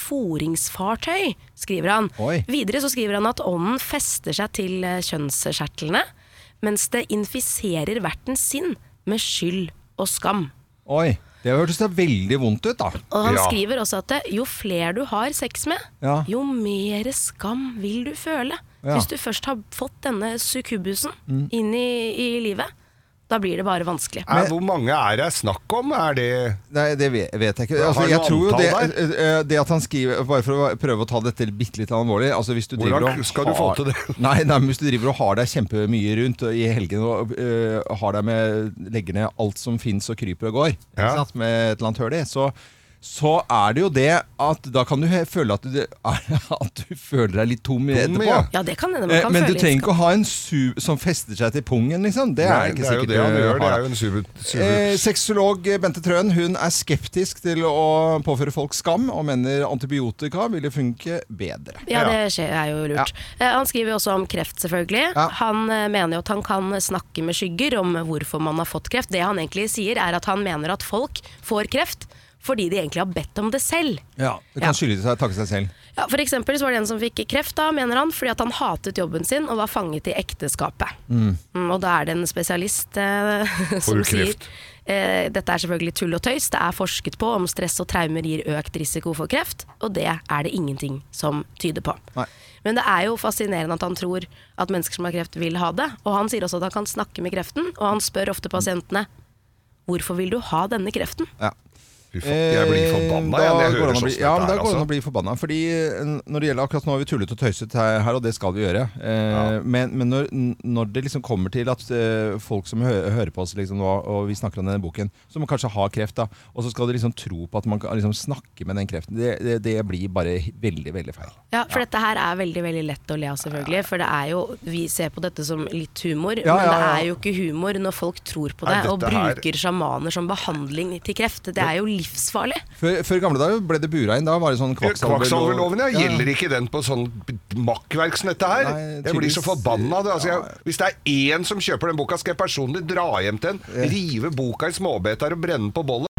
C: foringsfartøy, skriver han.
A: Oi.
C: Videre så skriver han at ånden fester seg til eh, kjønnskjertlene, mens det infiserer vertens sinn med skyld og skam.
A: Oi. Det hørtes da veldig vondt ut, da.
C: Og han
B: Ja.
C: skriver også at det, jo flere du har sex med,
A: Ja.
C: jo mer skam vil du føle.
A: Ja. Mm.
C: Hvis du først har fått denne sukubusen inn i, i livet, da blir det bare vanskelig.
B: Eh, Hvor mange er det snakk om? Er det
A: Nei, det vet vet jeg ikke.
B: Har
A: Altså,
B: du
A: jeg
B: noe
A: tror jo det,
B: antall
A: eh, eh, det at han skriver Bare for å prøve å ta dette bitte litt alvorlig altså, hvis du
B: Hvordan
A: driver og
B: skal du få
A: har-
B: til det?
A: Nei, nei, men Hvis du driver og har deg kjempemye rundt og i helgene og eh, har deg med legger ned alt som fins og kryper og går, ikke
B: Ja.
A: sant? med et eller annet høl i, så så er det jo det at da kan du he- føle at du, at du føler deg litt tom, etterpå.
B: ja.
C: Ja, det kan hende. Man
A: Eh,
C: kan
A: Men du
C: føle
A: trenger ikke å ha en sub som fester seg til pungen, liksom. Det er
B: Nei,
A: ikke
B: det er jo
A: sikkert
B: det han
A: du
B: gjør. Det
A: har.
B: er jo en super... super-
A: Eh, Sexolog Bente Trøen hun er skeptisk til å påføre folk skam, og mener antibiotika ville funke bedre.
C: Ja, det skjer, er jo lurt. Eh, Han skriver jo også om kreft, selvfølgelig.
A: Ja.
C: Han eh, mener jo at han kan snakke med skygger om hvorfor man har fått kreft. Det han egentlig sier, er at han mener at folk får kreft fordi de egentlig har bedt om det selv.
A: Ja, Det
C: Ja.
A: kan skylde seg takke seg selv.
C: Ja, for eksempel så var det en som fikk kreft da, mener han, fordi at han hatet jobben sin og var fanget i ekteskapet. Mm, og da er det en spesialist eh, som
B: du
C: sier
B: kreft?
C: eh, dette er selvfølgelig tull og tøys, det er forsket på om stress og traumer gir økt risiko for kreft, og det er det ingenting som tyder på.
A: Nei.
C: Men det er jo fascinerende at han tror at mennesker som har kreft vil ha det, og han sier også at han kan snakke med kreften, og han spør ofte pasientene Hvorfor vil du ha denne kreften?
A: Ja.
B: Fy faen, jeg blir forbanna
A: Eh,
B: jeg,
A: da
B: når
A: går
B: jeg
A: det
B: hører
A: an å
B: sånn
A: bli-
B: som
A: Ja, men da går
B: dette her,
A: det an
B: altså.
A: å bli forbanna. Fordi eh, når det gjelder akkurat nå har vi tullet og tøyset her, her, og det skal vi gjøre. Eh, Men, men når, n- når det liksom kommer til at eh, folk som hø hører på oss liksom, nå, og vi snakker om denne boken, som kanskje har kreft, da, og så skal de liksom tro på at man kan liksom, snakke med den kreften, det, det, det blir bare he- veldig, veldig feil.
C: Ja, for dette her er veldig veldig lett å le av, selvfølgelig. For det er jo, vi ser på dette som litt humor,
A: Ja,
C: men
A: ja,
C: det
A: ja.
C: er jo ikke humor når folk tror på det
B: Nei,
C: og
B: dette her-
C: bruker sjamaner som behandling til kreft. Det er jo livsfarlig.
A: Før, før gamle dager ble det bura inn. Da var det sånn kvakksalver-
B: Kvakksalverloven, ja.
A: Ja.
B: Gjelder ikke den på sånn makkverk som dette her?
A: Nei,
B: jeg blir
A: tydeligvis-
B: så forbanna. du. Altså, jeg, hvis det er én som kjøper den boka, skal jeg personlig dra hjem til den, rive boka i småbiter og brenne den på bollet.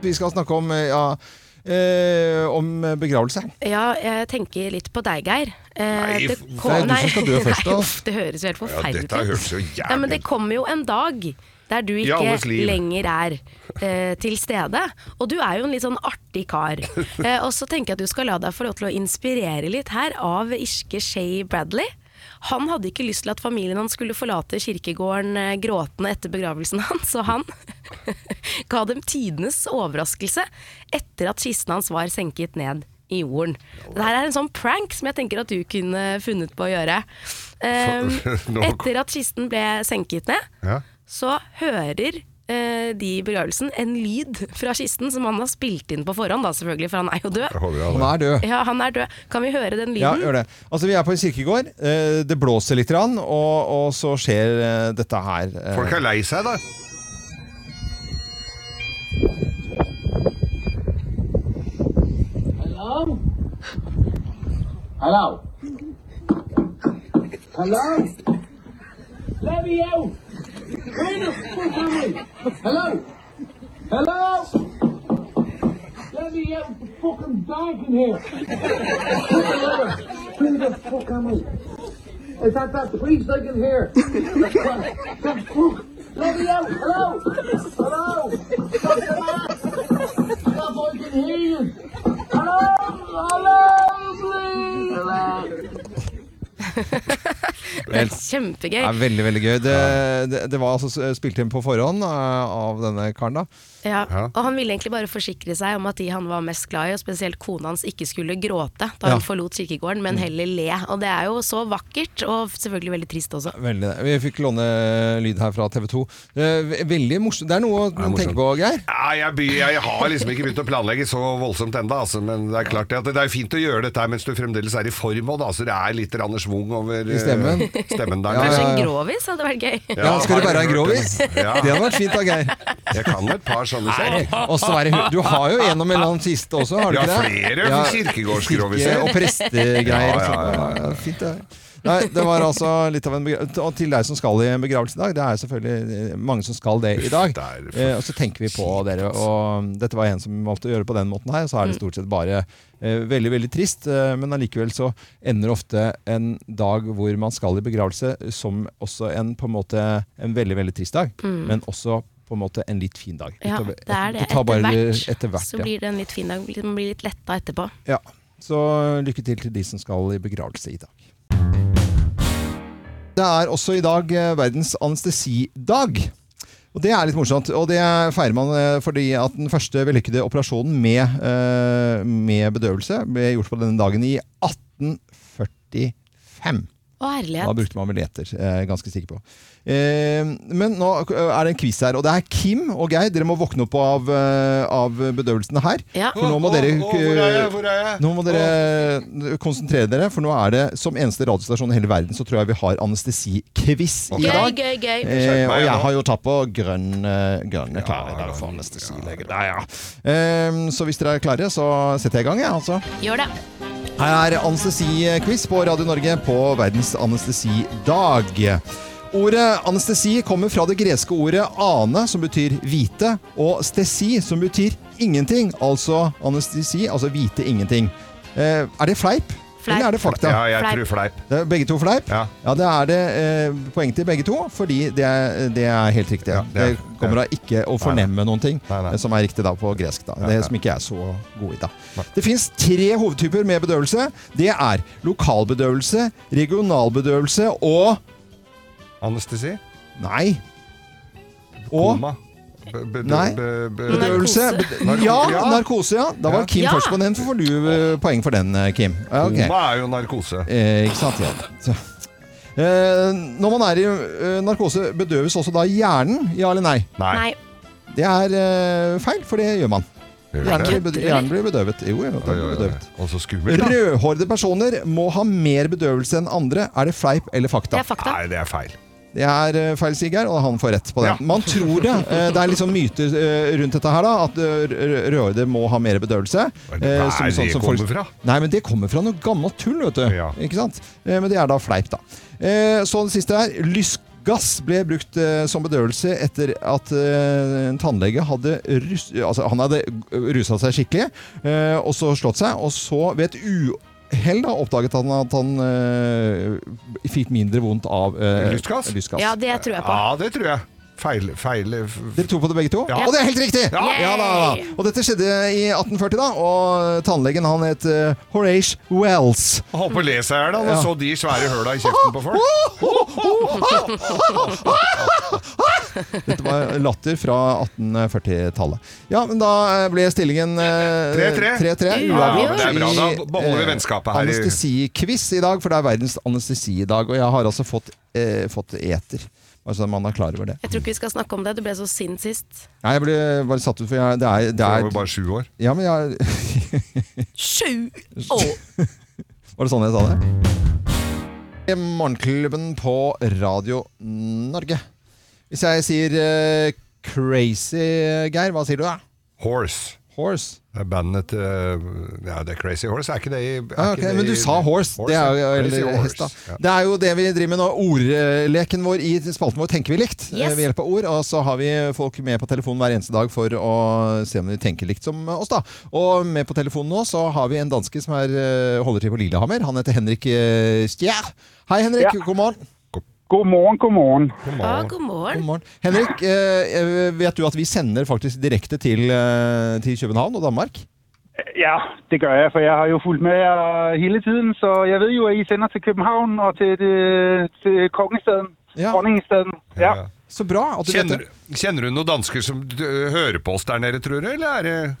A: Vi skal snakke om, eh, ja, eh, om begravelse.
C: Ja, jeg tenker litt på deg, Geir. Eh,
B: Nei,
C: det
B: f-
A: Det er du som skal dø først, da.
C: Nei, uff, det høres jo helt
B: Ja,
C: forferdelig
B: dette høres jo jævlig
C: Nei, men det kommer jo en dag der du
B: alles
C: ikke
B: liv.
C: lenger er eh, til stede. Og du er jo en litt sånn artig kar. Eh, og så tenker jeg at du skal la deg få lov til å inspirere litt her av irske Shay Bradley. Han hadde ikke lyst til at familien hans skulle forlate kirkegården eh, gråtende etter begravelsen hans, så han ga dem tidenes overraskelse etter at kisten hans var senket ned i jorden. Det her er en sånn prank som jeg tenker at du kunne funnet på å gjøre. Um,
B: Nå-
C: etter at kisten ble senket ned,
B: Ja.
C: så hører eh, de i begravelsen en lyd fra kisten som han har spilt inn på forhånd, da selvfølgelig, for han er jo
B: Jeg
C: død.
B: håper jeg
A: Han
B: har det.
A: er død.
C: Ja, han er død. Kan vi høre den
A: Ja,
C: lyden?
A: gjør det. Altså, vi er på en kirkegård. Eh, det blåser litt, grann, og, og så skjer eh, dette her. eh.
B: Folk er lei seg, da.
D: Hello? Hello? Hello? Let me out! Where the fuck am I? Hello? Hello? Let me out! It's fucking dark in here! Where the fuck am I? Is that that priest I can hear? What the fuck? Let me out! Hello? Hello? What's the matter? Stop, I can hear you! Hello? Hello, please! Hello?
C: Det er kjempegøy.
A: Det er veldig, veldig gøy. Det, det, det var altså s- spilt inn på forhånd eh, av denne karen, da.
C: Ja.
B: Ja.
C: Og han ville egentlig bare forsikre seg om at de han var mest glad i, og spesielt kona hans, ikke skulle gråte da
A: Ja. Mm.
C: hun forlot kirkegården, men heller le. Og det er jo så vakkert, og selvfølgelig veldig trist også.
A: Veldig. Vi fikk låne lyd her fra TV 2. Eh, Veldig morsomt. Det er noe å tenke på, Geir.
B: Nei, jeg, by, jeg har liksom ikke begynt å planlegge så voldsomt ennå, altså, men det er klart det at det er fint å gjøre dette her mens du fremdeles er i form òg, da. Så det er litt rand schwung over eh,
A: stemmen.
B: stemmen der.
A: Ja,
C: Kanskje
A: ja,
C: en
A: ja.
C: grovis hadde vært gøy.
A: Ja, skal du
B: har
A: være en
B: hørt
A: grovis?
B: det. Ja.
A: Det hadde vært fint da, Geir.
B: Jeg kan et par sånne selv.
A: Og så er det hu- Du har jo en om en eller annen kiste også, har du
B: Ja,
A: ikke det?
B: flere kirkegårdsgroviser.
A: kirke- Og prestegreier.
B: Ja, ja, ja,
A: og sånt. Fint, det. Nei, det var altså litt av en begravelse. Og til deg som skal i en begravelse i dag, det er selvfølgelig eh, mange som skal det i dag.
B: Det er for-
A: Eh, og så tenker vi på dere, og mm, dette var en som valgte å gjøre det på den måten her, og så er det stort sett bare eh, veldig, veldig trist, eh, men allikevel så ender ofte en dag hvor man skal i begravelse som også en på en måte en veldig, veldig trist dag, men også på en måte en litt fin dag.
C: Ja,
A: Utover-
C: det er det.
A: tar
C: Etter
A: bare
C: hvert,
A: etter hvert,
C: så
A: ja.
C: blir det en litt fin dag. Man blir litt letta etterpå.
A: Ja, så lykke til til de som skal i begravelse i dag. Det er også i dag eh, verdens anestesidag. Og Det er litt morsomt, og det feirer man eh, fordi at den første vellykkede operasjonen med, eh, med bedøvelse ble gjort på denne dagen i 1845.
C: Å
A: Da
C: herlighet.
A: brukte man vel eter, eh, ganske sikker på. Eh, men nå eh, er det en quiz her, og det er Kim og Geir. Dere må våkne opp av, eh, av bedøvelsen her.
C: Ja.
A: For nå må
B: Å,
A: dere
B: å, hvor er jeg? Hvor er jeg?
A: Nå må dere konsentrere dere, for nå er det som eneste radiostasjon i hele verden, så tror jeg vi har anestesikviss i
C: Gøy,
A: dag.
C: gøy, gøy.
A: Eh, og
B: meg
A: jeg
B: nå.
A: har jo tatt på grønn, eh, grønne klær i dag for anestesilege. Der, ja. Eh, så hvis dere er klare, så setter jeg i gang, jeg, altså.
C: Gjør det.
A: Her er anestesi-quiz på Radio Norge på verdens anestesidag. Ordet anestesi kommer fra det greske ordet ane, som betyr hvite, og stesi, som betyr ingenting. Altså anestesi, altså hvite ingenting. Eh, er det fleip?
C: Fleip.
A: Eller er det fakta?
B: Ja, jeg
C: Fleip.
B: tror fleip.
A: Det er begge to fleip?
B: Ja.
A: det er det eh, poeng til begge to, fordi det er, det er helt riktig.
B: Ja,
A: det,
B: det er-
A: kommer da ikke å fornemme noen ting
B: Nei, nei.
A: eh, som er riktig da på gresk. da.
B: ja.
A: Det som ikke jeg er så god i. da. Det fins tre hovedtyper med bedøvelse. Det er lokalbedøvelse, regionalbedøvelse og
B: Anestesi?
A: Nei. Og
B: Koma. B- b-
A: Nei.
B: b- b-
A: bedøvelse
B: Narkose.
A: Ja,
B: Ja.
A: narkose, ja. Da var
B: Ja.
A: Kim
C: Ja.
A: først på den, så får du eh, poeng for den, eh, Kim. Ja, ok.
B: Koma er jo narkose.
A: Eh, ikke sant? Ja. Så. Eh, når man er i eh, narkose, bedøves også da hjernen? Ja eller nei?
C: Nei.
A: Det er eh, feil, for det gjør man.
B: Gjør
A: Hjernen
B: det?
A: blir, bed- hjernen blir bedøvet. Jo, jo, den
B: Oi,
A: blir
B: oi, oi.
A: bedøvet.
B: Og så skummelt, da.
A: Rødhårede personer må ha mer bedøvelse enn andre. Er det fleip eller
C: Det
A: fakta?
C: er fakta.
B: Nei, det er feil.
A: Det er eh, feil, Sigurd, og han får rett på det.
B: Ja.
A: Man tror det. Eh, Det er liksom myter eh, rundt dette her, da. At eh, r- r- rødhårede må ha mer bedøvelse.
B: Hva er det
A: Eh, som- sånn
B: det
A: som
B: kommer
A: folk-
B: fra?
A: Nei, men det kommer fra noe gammelt tull, vet du.
B: Ja.
A: Ikke sant? Eh, Men det er da fleip, da. Eh, Så det siste her. Lystgass ble brukt eh, som bedøvelse etter at eh, en tannlege hadde, rus altså, han hadde rusa seg skikkelig, eh, og så slått seg, og så ved et uhell da, oppdaget han at han eh, fikk mindre vondt av eh,
B: Lystgass?
C: Ja, det tror jeg på.
B: Ja, det tror jeg. Feil, feil f-
A: dere tror på det begge to?
B: Ja.
A: Og det er helt riktig!
B: Ja.
A: da. Og dette skjedde i 1840, da. Og tannlegen han het eh, Horace Wells.
B: Hold på å le seg her, da,
A: Ja.
B: og så de svære høla i kjeften på folk.
A: Dette var latter fra 1840-tallet. Ja, men da eh, ble stillingen eh,
B: 3-3.
A: 3-3.
C: Ja,
A: Uavgjort.
B: det er bra. Da
A: i,
B: beholder vi
A: eh,
B: vennskapet her i-
A: Anestesiquiz i dag, for det er verdens anestesidag. Og jeg har altså fått, eh, fått eter. Bare så man er klar over det.
C: Jeg tror ikke vi skal snakke om det. Du ble så sint sist.
A: Nei, jeg ble bare satt ut, for jeg, det er, det er
B: Jeg var jo bare sju år.
A: Ja, men jeg
C: Sju år!
A: Var det sånn jeg sa det? I Morgenklubben på Radio Norge. Hvis jeg sier eh, crazy, Geir, hva sier du da?
B: Horse.
A: Horse?
B: Det er bandet til Ja, det er Crazy Horse. Er ikke det i er
A: Ja, Ah, ok,
B: ikke det
A: men
B: i-
A: du sa horse. Det er jo
B: ja. Crazy
A: eller,
B: Horse.
A: hest, da.
B: Ja.
A: Det er jo det vi driver med nå. Ordleken vår i spalten vår tenker vi likt
C: Yes.
A: eh, ved hjelp av ord. Og så har vi folk med på telefonen hver eneste dag for å se om de tenker likt som oss, da. Og med på telefonen nå så har vi en danske som er, eh, holder til på Lillehammer. Han heter Henrik eh, Stjær. Hei, Henrik.
E: Ja.
A: God morgen.
E: God morgen, god morgen.
B: Come
C: Ja,
B: on.
C: god
A: God
C: morgen.
A: morgen. Henrik, eh, vet du at vi sender faktisk direkte til, eh, til København og Danmark?
E: Ja, det gør jeg, for jeg har jo fulgt med jer hele tiden, så jeg ved jo, at I sender til København og til, det- til Kongestaden,
A: Ja.
E: Dronningestaden. Ja.
B: Ja.
A: Så bra at du vet
B: Kjenner,
A: det.
B: kjenner du noen dansker som d- hører på oss der nede, tror du? Eller er det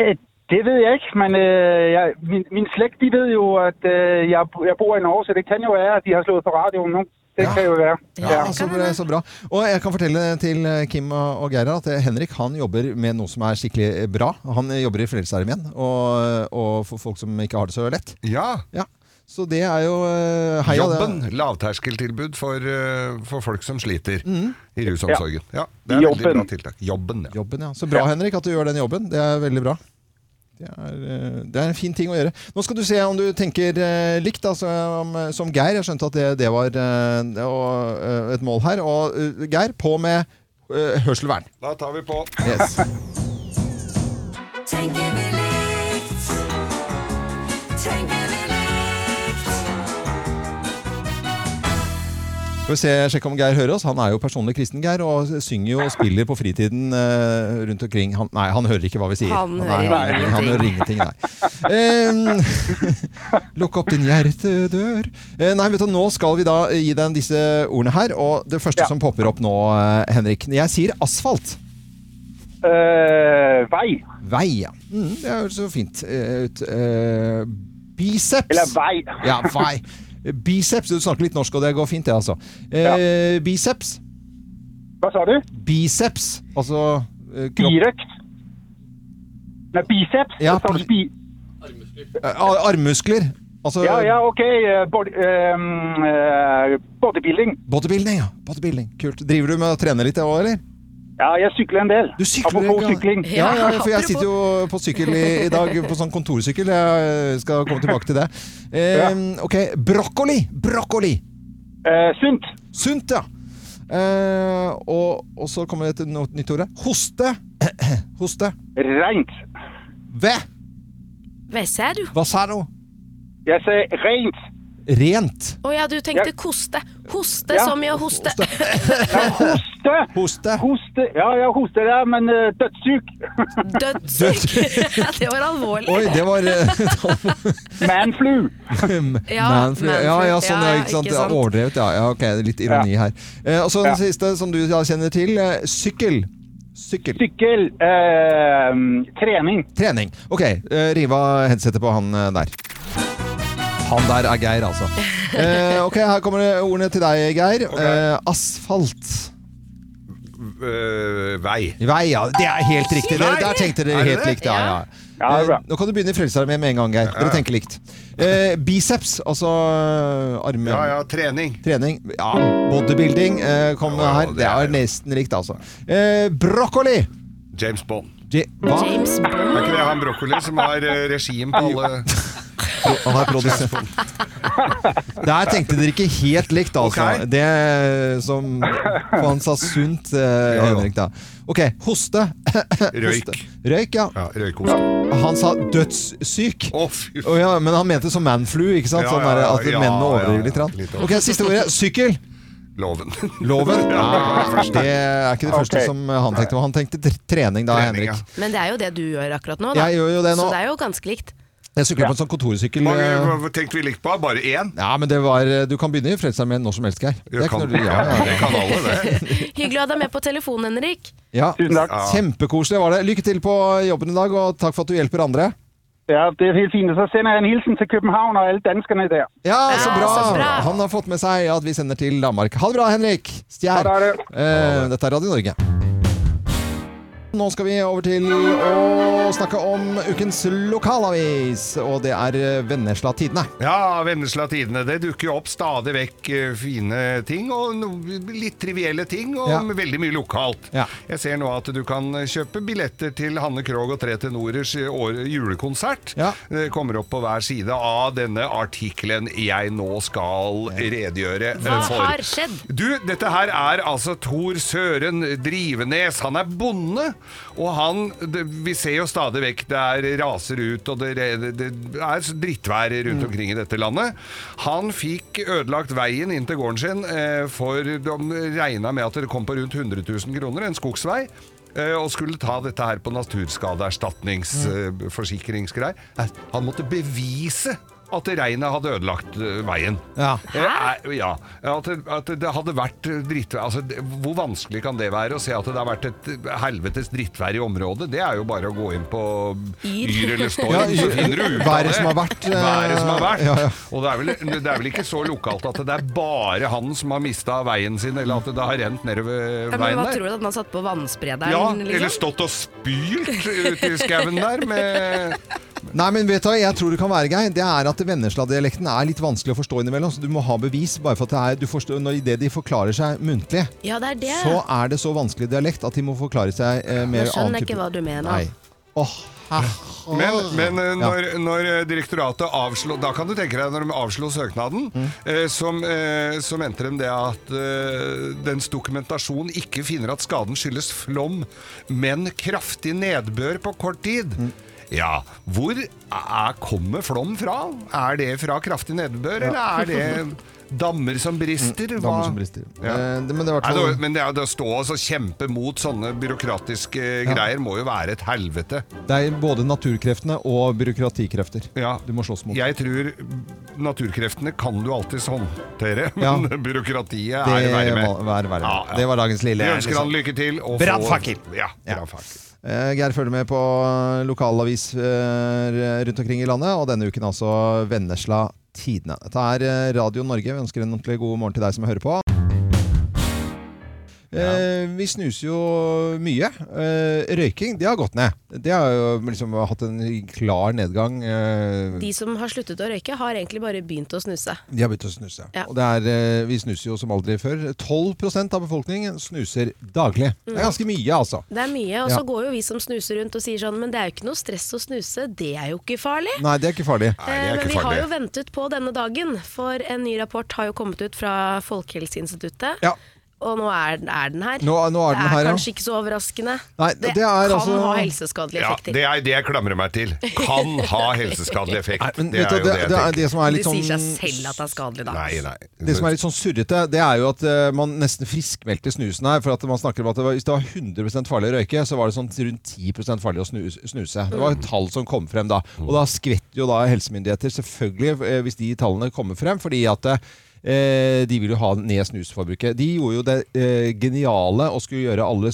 E: Øh, Det ved jeg ikke, men øh, jeg, min, min slægt, de ved jo, at øh, jeg, jeg bor i Norge, så det kan jo være, at de har slået på radioen nu. Det
A: Ja.
E: kan jo være.
A: Ja, så bra, så bra. Og jeg kan fortelle til eh, Kim og og Geir at eh, Henrik han jobber med noe som er skikkelig bra. Han eh, jobber i Frelsesarmeen, og, eh, og for folk som ikke har det så lett.
B: Ja.
A: Ja. Så det er jo eh, heia det.
B: Jobben. Lavterskeltilbud for, eh, for folk som sliter
A: Mm.
B: i rusomsorgen. Ja, Det er veldig
E: Jobben.
B: bra tiltak. Jobben, ja.
A: Jobben, ja. Så bra, Henrik, at du gjør den jobben. Det er veldig bra. Det er, eh, det er en fin ting å gjøre. Nå skal du se om du tenker eh, likt, altså, om, eh, som Geir. Jeg skjønte at det, det var eh, det var, eh, et mål her. Og eh, Geir, på med eh, hørselvern.
B: Da tar vi på.
A: Yes.
F: Tenker vi likt? Tenker vi likt?
A: Skal vi se, sjekke om Geir hører oss. Han er jo personlig kristen, Geir, og synger jo og spiller på fritiden eh, rundt omkring. Han, nei, han hører ikke hva vi sier.
C: Han
A: er-
C: hører ingenting.
A: Han hører ingenting, nei. Em, Lukk opp din hjertedør. Eh, nei, vet du, nå skal vi da gi deg disse ordene her, og det første
E: Ja.
A: som popper opp nå, eh, Henrik. Jeg sier asfalt.
E: Øh, vej,
A: Vei, ja. Mm, det høres så fint eh, ut. Eh, biceps.
E: eller vej.
A: Ja, vei. Biceps. Du snakker litt norsk, og det går fint, det, altså. Eh, Biceps.
E: Hvad så er det?
A: biceps, altså eh, kropp,
E: Direkt. Nå, biceps,
A: Ja,
E: så står det
A: bi-
E: bi-
A: eh, ar- armmuskler. Altså
E: Ja, ja, okay, øh, body, øhm, øh, bodybuilding.
A: bodybuilding. ja. Bodybuilding, Kult. Driver du med å trene litt òg, eller?
E: Ja, jeg sykler en del.
A: Du sykler
E: Apropos
A: en gang.
E: sykling.
A: Ja, ja, for jeg
C: apropos.
A: sitter jo på sykkel i, i dag, på sånn kontorsykkel. Jeg skal komme tilbake til det. Eh, ok, brokkoli! Brokkoli!
E: Øh, synd.
A: Sunt, ja. Eh, og, og så kommer det et no- nytt ord. her. Hoste. Hoste.
E: Rent.
A: Væ.
C: Hva ser du?
A: Hva sa du?
E: Jeg sagde rent.
A: Rent.
C: Å ja, du tenkte koste. Hoste
E: Ja.
C: som i å hoste.
E: Hoste!
A: Hoste.
E: Hoste. Ja, jeg hoster, ja, men uh, dødssyk.
C: Dødssyk. Ja, det var alvorlig.
A: Oi, det var eh,
E: Manflu.
C: Ja,
A: Manfred. ja, ja, sånn, ja, ikke sant? Ja, Overdrevet, ja. ja. Ok, litt ironi her. Eh, og så den
E: Ja.
A: siste, som du ja, kjenner til. Eh, sykkel. Sykkel.
E: Sykkel. eh, trening.
A: Trening. Ok, eh, riv av headsetet på han eh, der. Han der er Geir, altså. Eh, ok, her kommer det ordene til deg, Geir. Eh, asfalt.
B: Øh, vei.
A: Vei, ja. Det er helt riktig. Dere, der tenkte
B: Er
A: dere
B: det
A: helt
B: det?
A: likt. Ja, ja.
E: Ja, det er bra.
A: Eh, Nå kan du begynne i Frelsesarmeen med en gang, Geir. Dere tenker likt. Eh, biceps, altså eh, armen.
B: Ja, ja, trening.
A: Trening. Ja, bodybuilding eh, kom
B: Ja,
A: her.
B: det
A: Det
B: er-
A: er nesten likt, altså. Eh, brokkoli!
B: James Bond.
A: Je- Hva?
C: James Bond.
B: Er ikke det han brokkoli som har eh, regien på alle
A: Han er produsent. Der tenkte dere ikke helt likt, altså.
B: Ok.
A: Det eh, som For han sa sunt, eh,
B: Ja, ja.
A: Henrik, da. Ok, hoste.
B: Røyk.
A: Røyk, ja.
B: Ja, røykost.
A: Han sa dødssyk.
B: Å, fy
A: Å ja, men han mente som manflu, ikke sant?
B: Ja,
A: Sånn
B: ja,
A: der,
B: ja,
A: at
B: ja,
A: mennene overdriver litt.
B: ja,
A: grann.
B: litt over.
A: Ok, Siste ordet. Sykkel.
B: loven.
A: Loven.
B: Ja, det var
A: Ah,
B: første.
A: det er ikke det første
E: Ok.
A: som han tenkte på. Han tenkte tr- trening da,
B: Trening,
A: Henrik.
B: ja.
C: Men det er jo det du gjør akkurat nå, da.
A: Jeg gjør jo det nå.
C: Så det er jo ganske likt.
A: Jeg sykler på en sånn kontorsykkel.
B: Mange
A: eh,
B: hva tenkte vi likt på? Bare én?
A: Ja, men det var eh, Du kan begynne i Frelsesarmeen når som helst, Geir. Det er
B: Det
A: ikke
B: kan,
A: noe- ja, ja, ja.
B: det kan alle, det.
C: Hyggelig å ha deg med på telefonen, Henrik.
A: Ja,
E: Tusen takk.
A: Kjempekoselig var det. Lykke til på jobben i dag, og takk for at du hjelper andre.
E: Ja, det er helt fint. Og så sender jeg en hilsen til København og alle danskerne der.
A: Ja, så
C: Ja, så
A: bra!
C: bra.
A: Han har fått med seg at vi sender til Danmark. Ha det bra, Henrik! Stjær.
E: Ha det, ha det.
A: Eh, dette er Radio Norge. Nå skal vi over til å snakke om ukens lokalavis, og det er eh, Vennesla Tidende.
B: Ja, Vennesla Tidende. Det dukker jo opp stadig vekk eh, fine ting, og no, litt trivielle ting, og
A: Ja.
B: veldig mye lokalt.
A: Ja.
B: Jeg ser nå at du kan kjøpe billetter til Hanne Krogh og Tre Tenorers eh, år- julekonsert.
A: Ja.
B: Det kommer opp på hver side av denne artikkelen jeg nå skal redegjøre eh,
C: Hva
B: for.
C: har skjedd?
B: Du, dette her er altså Tor Søren Drivenes. Han er bonde, og han det, Vi ser jo stadig vekk det er raser ut, og det, det, det er så drittvær rundt omkring i dette landet. Han fikk ødelagt veien inn til gården sin, eh, for de regna med at det kom på rundt 100 000 kroner, en skogsvei. eh, Og skulle ta dette her på naturskadeerstatningsforsikringsgreier. Eh, Han måtte bevise at regnet hadde ødelagt eh, veien.
A: Ja.
B: Eh, eh, Ja. At det, at det hadde vært drittvær altså, det- Hvor vanskelig kan det være å se at det har vært et helvetes drittvær i området? Det er jo bare å gå inn på
C: Yr.
B: Yr eller Storm,
A: Ja,
B: så finner du ut av
A: været
B: det.
A: som har vært, eh,
B: Været som har vært.
A: ja, ja.
B: Og det er, vel, det er vel ikke så lokalt at det er bare han som har mista veien sin, eller at det har rent nedover
C: Ja, men
B: veien
C: hva
B: der.
C: tror du at den har satt på vannsprederen?
B: Ja,
C: liksom?
B: eller stått og spylt ute i skauen der med
A: Nei, men vet du hva jeg tror det kan være, Geir? Det er at Vennesla-dialekten er litt vanskelig å forstå innimellom, så du må ha bevis bare for at det er, du forstår, når det de forklarer seg muntlig.
C: Ja, det er det.
A: så er det så vanskelig dialekt at de må forklare seg eh, med
C: Nå skjønner
A: annen
C: jeg ikke hva du mener.
A: Nei. Åh, hæ?
B: Men, men eh, når, når eh, direktoratet avslo Da kan du tenke deg når de avslo søknaden,
A: Mm.
B: eh, som, eh, så mente de det at eh, dens dokumentasjon ikke finner at skaden skyldes flom, men kraftig nedbør på kort tid.
A: Mm.
B: Ja, hvor er, kommer flom fra? Er det fra kraftig nedbør, eller er det dammer som brister?
A: Damer
B: Hva-
A: Mm, som brister.
B: Ja.
A: Eh, det- men det er i hvert
B: Nei, det,
A: fall
B: var- men det, er- det å stå og så kjempe mot sånne byråkratiske
A: Ja.
B: greier må jo være et helvete.
A: Det er både naturkreftene og byråkratikrefter
B: Ja.
A: du må slåss mot.
B: Jeg tror naturkreftene kan du alltids håndtere,
A: Ja.
B: men byråkratiet
A: det
B: er verre med.
A: var- vær verre med.
B: Ja, ja.
A: Det var dagens lille
B: Vi ønsker
A: liksom.
B: han lykke til. og få-
A: Brannfakkel.
B: Ja,
A: Ja.
B: brannfakkel.
A: Eh, Geir følger med på eh, lokalavis eh, rundt omkring i landet, og denne uken altså Vennesla Tidende. Dette er eh, Radio Norge. Vi ønsker en ordentlig god morgen til deg som hører på. Eh, vi snuser jo mye. Eh, røyking, det har gått ned. Det har jo liksom hatt en klar nedgang. Eh,
C: De som har sluttet å røyke, har egentlig bare begynt å snuse.
A: de har begynt å snuse.
C: Ja.
A: Og det er, eh, vi snuser jo som aldri før. 12 av befolkningen snuser daglig. Det
C: Mm.
A: er ganske mye, altså.
C: Det er mye, og
A: Ja.
C: så går jo vi som snuser rundt og sier sånn Men det er jo ikke noe stress å snuse, det er jo ikke farlig.
A: Nei, det er ikke farlig.
B: Nei, det
C: Eh,
B: er
C: Men
B: ikke
C: vi har jo
B: farlig.
C: ventet på denne dagen, for en ny rapport har jo kommet ut fra Folkehelseinstituttet.
A: Ja.
C: og nå er, den- er den her.
A: Nå, nå er den
C: det er
A: her, ja.
C: kanskje ikke så overraskende.
A: Nei, det er
C: kan
A: altså-
C: ha helseskadelige
B: Ja,
C: effekter.
B: det er det jeg klamrer meg til. Kan ha helseskadelige effekt.
A: Nei, men
B: det
A: vet
B: er
A: du, det,
B: jo det
A: det, er
B: jeg tenker.
A: det som er
C: Det
A: litt sånn
C: sier seg selv at det er skadelig, da.
B: Nei, nei.
A: Det som er litt sånn surrete, det er jo at eh, man nesten friskmeldte snusen her. For at man snakker om at det var, Hvis det var 100 farlig å røyke, så var det sånn rundt 10 farlig å snu, snuse. Det var et tall som kom frem da. Og da skvetter jo da helsemyndigheter, selvfølgelig, eh, hvis de tallene kommer frem. fordi at eh, de vil jo ha ned snusforbruket. De gjorde jo det eh, geniale å skulle gjøre alle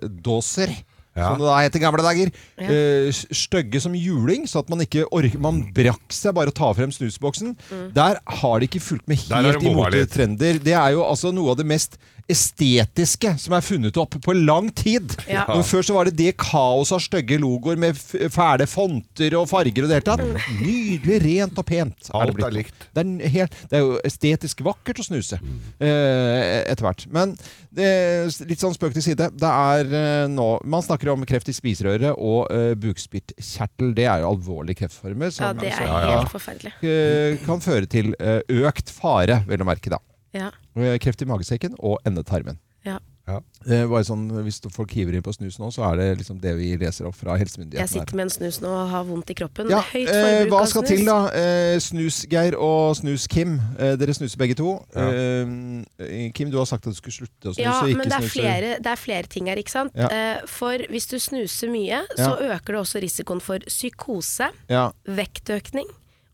A: snusdåser.
B: Ja.
A: Som det da het i gamle dager. eh, s- Stygge som juling, så at man ikke orker Man brakk seg bare å ta frem snusboksen. Der har de ikke fulgt med
B: Der har
A: helt
B: de bomma
A: imot
B: litt.
A: trender. Det er jo altså noe av det mest estetiske som er funnet opp på lang tid.
C: Ja.
A: Og før så var det det kaoset av stygge logoer med f- fæle fonter og farger og det hele tatt.
C: Mm.
A: Nydelig, rent og pent.
B: Alt er
A: blitt.
B: likt. Mm.
A: Det er, n- helt, det er jo estetisk vakkert å snuse eh, etter hvert. Men det, litt sånn spøk til side. Det er eh, nå Man snakker om kreft i spiserøret og eh, bukspyttkjertel. Det er jo alvorlige kreftformer.
C: Ja,
A: Som, altså
C: det er
A: som,
C: helt forferdelig.
A: eh, kan føre til eh, økt fare, vel å merke, da.
C: Ja,
A: Eh, Kreft i magesekken og endetarmen.
C: ja.
A: Eh, bare sånn, hvis folk hiver inn på snus nå, så er det liksom det vi leser opp fra
C: Jeg
A: helsemyndighetene. her.
C: sitter med en snus nå og har vondt i kroppen.
A: Ja,
C: Høyt
A: eh,
C: forbruk
A: hva
C: av
A: skal
C: snus.
A: til da? Eh, snus-Geir og snus-Kim. Eh, dere snuser begge to. Eh, Kim, du har sagt at du skulle slutte å snuse.
C: Ja,
A: og ikke
C: men det er,
A: snuse.
C: flere, det er flere ting her, ikke sant.
A: Ja.
C: Eh, For hvis du snuser mye, så øker det også risikoen for psykose,
A: Ja,
C: vektøkning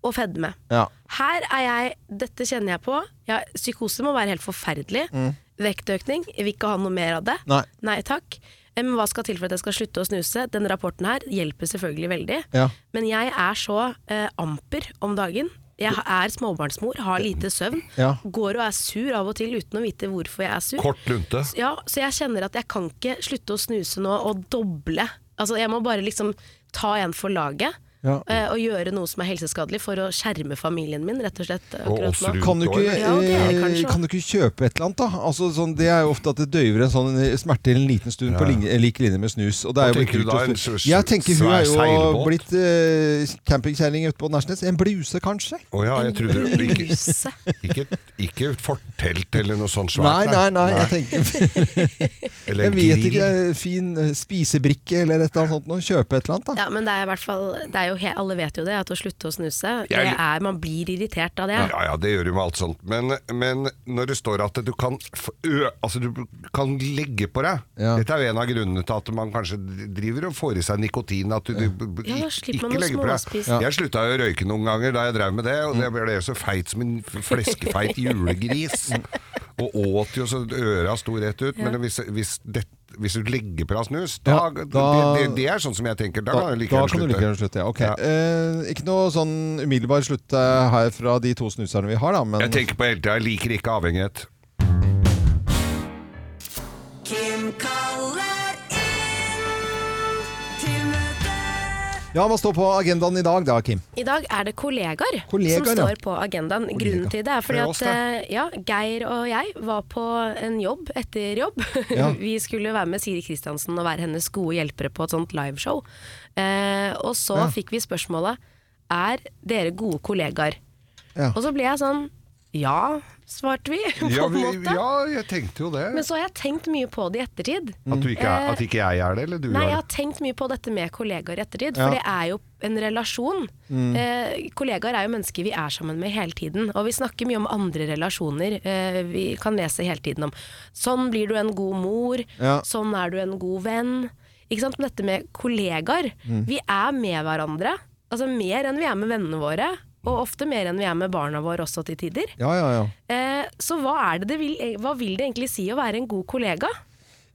C: og fedme.
A: ja.
C: Her er jeg, dette kjenner jeg på. Ja, psykose må være helt forferdelig. Vektøkning, jeg vil ikke ha noe mer av det.
A: Mm. Nei.
C: takk. Eh, Men hva skal til for at jeg skal slutte å snuse? Denne rapporten her hjelper selvfølgelig veldig.
A: Ja.
C: Men jeg er så eh, amper om dagen. Jeg er småbarnsmor, har lite søvn.
A: Ja.
C: Går og er sur av og til uten å vite hvorfor jeg er sur.
B: Kort lunte.
C: Ja, så jeg kjenner at jeg kan ikke slutte å snuse nå og doble. Altså, jeg må bare liksom ta en for laget.
A: Ja.
C: eh, Og gjøre noe som er helseskadelig for å skjerme familien min, rett og slett. eh, akkurat
B: oss
C: nå.
B: rundt.
A: Kan du, ikke,
C: Ja, og dere
A: eh,
C: kanskje.
A: kan du ikke kjøpe et eller annet, da? Altså, sånn, det er jo ofte at det døyver en sånn smerte en liten stund på linje, lik linje med snus. Og det
B: Hva
A: er jo
B: tenker du
A: blitt
B: da,
A: kult å
B: en
A: snu-
B: s-
A: Jeg tenker hun
B: svær
A: er jo
B: seilbåt?
A: blitt eh, campingkjerring ute på Nærsnes. En bluse, kanskje?
B: Å ja, jeg trodde ikke,
C: Bruse.
B: ikke, ikke fortelt eller noe sånt
A: Nei, nei,
B: svært.
A: nei. Jeg tenker
B: Eller
A: Jeg vet
B: grill.
A: ikke. Fin eh, spisebrikke eller et eller annet sånt. noe. Kjøpe et eller annet, da.
C: Ja, men det er i hvert fall det er jo, he- Alle vet jo det, at å slutte å snuse det er, Man blir irritert av det.
B: Ja, ja, det gjør du med alt sånt. Men, men når det står at du kan, f- ø, altså du kan legge på deg
A: Ja.
B: Dette er jo en av grunnene til at man kanskje driver og får i seg nikotin. At du, du b- b-
C: Ja, da
B: ikk-
C: slipper man
B: ikke
C: å
B: legger på deg.
C: småspise. Ja.
B: Jeg slutta jo å røyke noen ganger da jeg drev med det, og
A: Mm.
B: jeg ble så feit som en f- fleskefeit julegris. Og åt jo så øra sto rett ut. Men hvis, hvis, det, hvis du legger på deg snus, da,
A: Ja, da-
B: det, det, det er sånn som jeg tenker. Da,
A: Da,
B: kan du like
A: da
B: gjerne
A: kan du like
B: slutte.
A: gjerne slutte. Ja. ok.
B: Ja.
A: Eh, ikke noe sånn umiddelbar slutt eh, her fra de to snuserne vi har, da. Men
B: Jeg tenker på hele tida, jeg liker ikke avhengighet.
F: Kim kaller inn til møte.
A: ja, hva står på agendaen i dag da, Kim?
C: I dag er det kollegaer,
A: Kollegaer,
C: som
A: ja.
C: står på agendaen. Grunnen til det er fordi
B: Det er oss,
C: at eh, ja, Geir og jeg var på en jobb etter jobb.
A: Ja.
C: Vi skulle være med Siri Kristiansen og være hennes gode hjelpere på et sånt liveshow. Eh, og så
A: Ja.
C: fikk vi spørsmålet er dere gode kollegaer.
A: Ja.
C: Og så ble jeg sånn ja, svarte vi. på
B: Ja,
C: en
B: vi,
C: måte.
B: ja, jeg tenkte jo det.
C: Men så har jeg tenkt mye på det i ettertid.
B: At, du ikke er, at ikke jeg er det, eller du
C: Nei, jeg
B: er
C: har
B: det?
C: tenkt mye på dette med kollegaer i
A: Ja. Mm.
C: ettertid, for det er jo en relasjon. Eh, kollegaer er jo mennesker vi er sammen med hele tiden, og vi snakker mye om andre relasjoner. Eh, vi kan lese hele tiden om sånn blir du en god mor,
A: Ja.
C: sånn er du en god venn. Ikke sant? Men dette med kollegaer,
A: Mm.
C: vi er med hverandre, altså mer enn vi er med vennene våre, og ofte mer enn vi er med barna våre også til tider.
A: Ja, ja, ja.
C: Eh, så hva, er det det vil, hva vil det egentlig si å være en god kollega?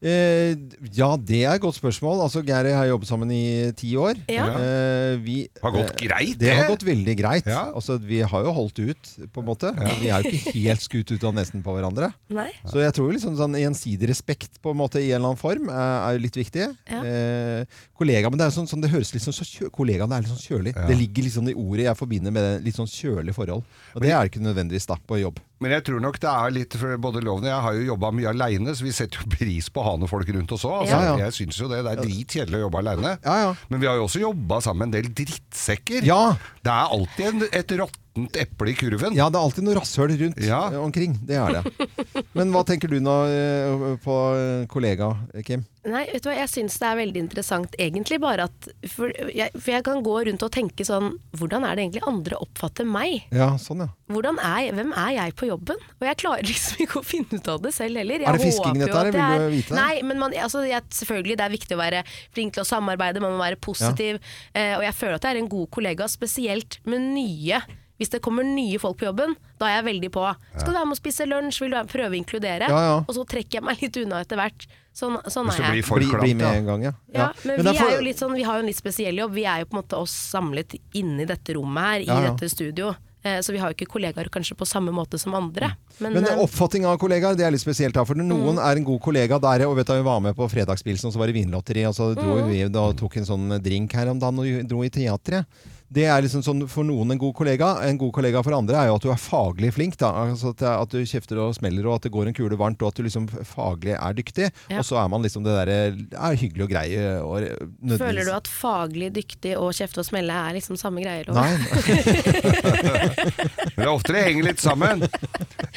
A: Eh, ja, det er et godt spørsmål. Altså, Geir og jeg har jobbet sammen i ti år.
C: Ja.
A: Eh, vi,
B: Har gått greit,
A: det. har
B: det.
A: gått veldig greit.
B: Ja.
A: Altså, vi har jo holdt ut, på en måte. Vi er jo ikke helt skutt ut av nesen på hverandre.
C: Nei.
A: Så jeg tror liksom sånn gjensidig respekt på en måte i en eller annen form er, er jo litt viktig.
C: Ja.
A: Eh, kollega, men det, er jo sånn, sånn, det høres litt sånn så kjø, Kollegaen er litt sånn kjølig. Det ligger liksom i ordet jeg forbinder med det, litt sånn kjølig forhold. Og det er det ikke nødvendigvis da på jobb.
B: Men jeg tror nok det er litt for både loven og jeg har jo jobba mye aleine, så vi setter jo pris på å ha noen folk rundt oss òg. Altså,
A: Ja, ja.
B: Jeg syns jo det. Det er dritkjedelig å jobbe aleine.
A: Ja, ja.
B: Men vi har jo også jobba sammen med en del drittsekker.
A: Ja.
B: Det er alltid en, et rotte råttent eple i kurven.
A: Ja, det er alltid noe rasshøl rundt
B: Ja.
A: eh, omkring. Det er det. Men hva tenker du nå eh, på eh, kollega, eh, Kim?
C: Nei, vet du hva, jeg syns det er veldig interessant egentlig bare at for jeg, for jeg kan gå rundt og tenke sånn Hvordan er det egentlig andre oppfatter meg?
A: Ja, sånn ja.
C: Hvordan er, jeg- hvem er jeg på jobben? Og jeg klarer liksom ikke å finne ut av det selv heller. Jeg
A: Er det fisking,
C: håper jo
A: dette
C: at
A: her?
C: det
A: Vil du
C: er-
A: vite det?
C: Nei, men man, altså, jeg, selvfølgelig det er viktig å være flink til å samarbeide, man må være positiv. Eh, og jeg føler at jeg er en god kollega, spesielt med nye. Hvis det kommer nye folk på jobben, da er jeg veldig på. Skal du være med og spise lunsj, vil du være- prøve å inkludere?
A: Ja, ja.
C: Og så trekker jeg meg litt unna etter hvert. Sånn, sånn
B: Hvis
C: er
B: det
C: jeg.
B: blir for
A: Bli, bli
B: klamt,
A: med
B: ja.
A: en gang, ja.
C: Ja, men, vi,
A: derfor-
C: er jo litt sånn, vi har jo en litt spesiell jobb. Vi er jo på en måte oss samlet inni dette rommet her, i
A: Ja, ja.
C: dette studio. Eh, Så vi har jo ikke kollegaer kanskje på samme måte som andre. Men,
A: Men
C: eh,
A: oppfatning av kollegaer, det er litt spesielt her. For
C: Mm.
A: noen er en god kollega der og vet du, vi var med på fredagspilsen, og så var det vinlotteri, og så
C: Mm.
A: dro vi da tok en sånn drink her om dagen og dro i teatret. Det er liksom sånn for noen en god kollega. En god kollega for andre er jo at du er faglig flink, da. Altså at, at du kjefter og smeller, og at det går en kule varmt, og at du liksom faglig er dyktig. Og så er man liksom det derre er hyggelig og grei og nødvendigvis
C: føler du at faglig dyktig og kjefte og smelle er liksom samme greier? eller?
A: Nei.
B: Men det er ofte det henger litt sammen.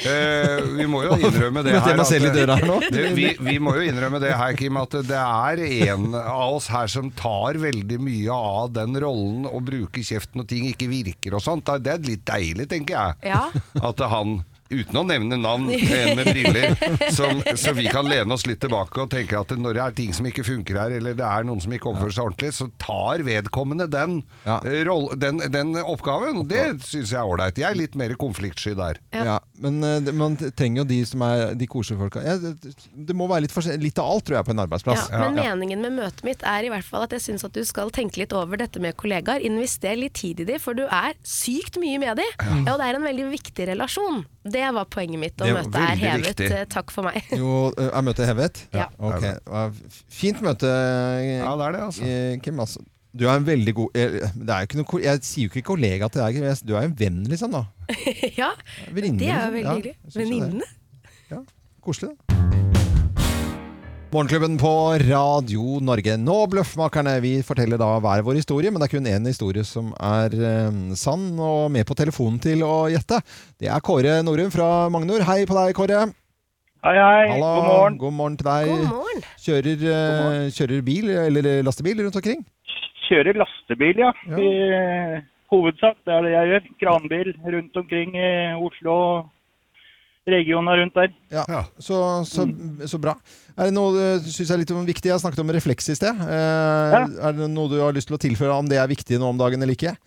B: Eh, vi må jo innrømme det
A: Møter jeg
B: her.
A: meg selv i
B: at-
A: døra her nå?
B: Det, vi, vi må jo innrømme det her, Kim, at det er en av oss her som tar veldig mye av den rollen å bruke kjeften når ting ikke virker og sånt. Det er litt deilig, tenker jeg.
C: Ja.
B: At han Uten å nevne navn, en med briller, som, så vi kan lene oss litt tilbake og tenke at når det er ting som ikke funker her, eller det er noen som ikke oppfører seg ordentlig, så tar vedkommende den,
A: Ja.
B: eh, roll- den, den oppgaven. Det syns jeg er ålreit. Jeg er litt mer konfliktsky der.
A: Ja. Men eh, det- man trenger jo de som er de koselige folka. Ja, det, det må være litt, forskjell- litt av alt, tror jeg, på en arbeidsplass.
C: Ja, men meningen med møtet mitt er i hvert fall at jeg syns at du skal tenke litt over dette med kollegaer. Invester litt tid i de, for du er sykt mye med de. Ja, og det er en veldig viktig relasjon. Det var poenget mitt, og
B: Det er
C: møtet er
B: veldig
C: hevet.
B: viktig.
C: Eh, Takk for meg.
A: Jo, ø, er møtet hevet?
C: Ja.
A: Ok, ja, f- Fint møte,
B: Ja, det er det, altså.
A: eh, Kim. Altså. Du er en veldig god eh, det er jo ikke noe, ko- Jeg sier jo ikke kollega til deg, Kim. Jeg- du er en venn, liksom. da
C: ja,
A: Venninne.
C: det er jo veldig
A: liksom.
C: hyggelig.
A: jeg synes jo det.
C: Venninne.
A: Ja, koselig. da. Morgenklubben på Radio Norge. Nå, Bløffmakerne, vi forteller da hver vår historie, men det er kun én historie som er eh, sann, og med på telefonen til å gjette. Det er Kåre Norum fra Magnor. Hei på deg, Kåre.
G: Hei, hei.
A: Halla.
G: God morgen.
A: God morgen til deg.
C: God morgen.
A: Kjører, eh, kjører bil, eller eh, lastebil, rundt omkring?
G: Kjører lastebil, ja.
A: Ja.
G: I eh, hovedsak. Det er det jeg gjør. Kranbil rundt omkring i Oslo og regionen rundt der.
A: Ja.
B: Ja.
A: Så, så,
G: Mm.
A: så bra. Er det noe du syns er litt om- viktig? Jeg snakket om refleks i sted. Eh, Er det noe du har lyst til å tilføre om det er viktig nå om dagen eller ikke?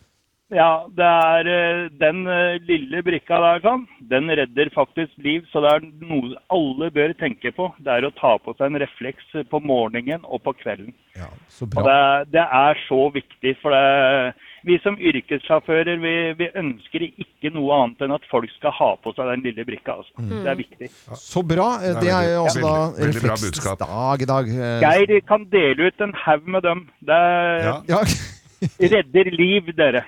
G: Ja, det er eh, den eh, lille brikka der, sånn, den redder faktisk liv. Så det er noe alle bør tenke på. Det er å ta på seg en refleks eh, på morgenen og på kvelden.
A: Ja, så
G: Og
A: bra.
G: det, er- det er så viktig. For det, vi som yrkessjåfører vi, vi ønsker ikke noe annet enn at folk skal ha på seg den lille brikka. Altså. Det er viktig.
A: Så bra. Eh,
B: Det er
A: Det er jo
B: veldig-
A: også da
B: veldig- veldig bra budskap.
A: refleksdag i dag. Eh,
G: Geir kan dele ut en haug med dem. Det
B: Ja.
A: Ja,
G: redder liv, dere.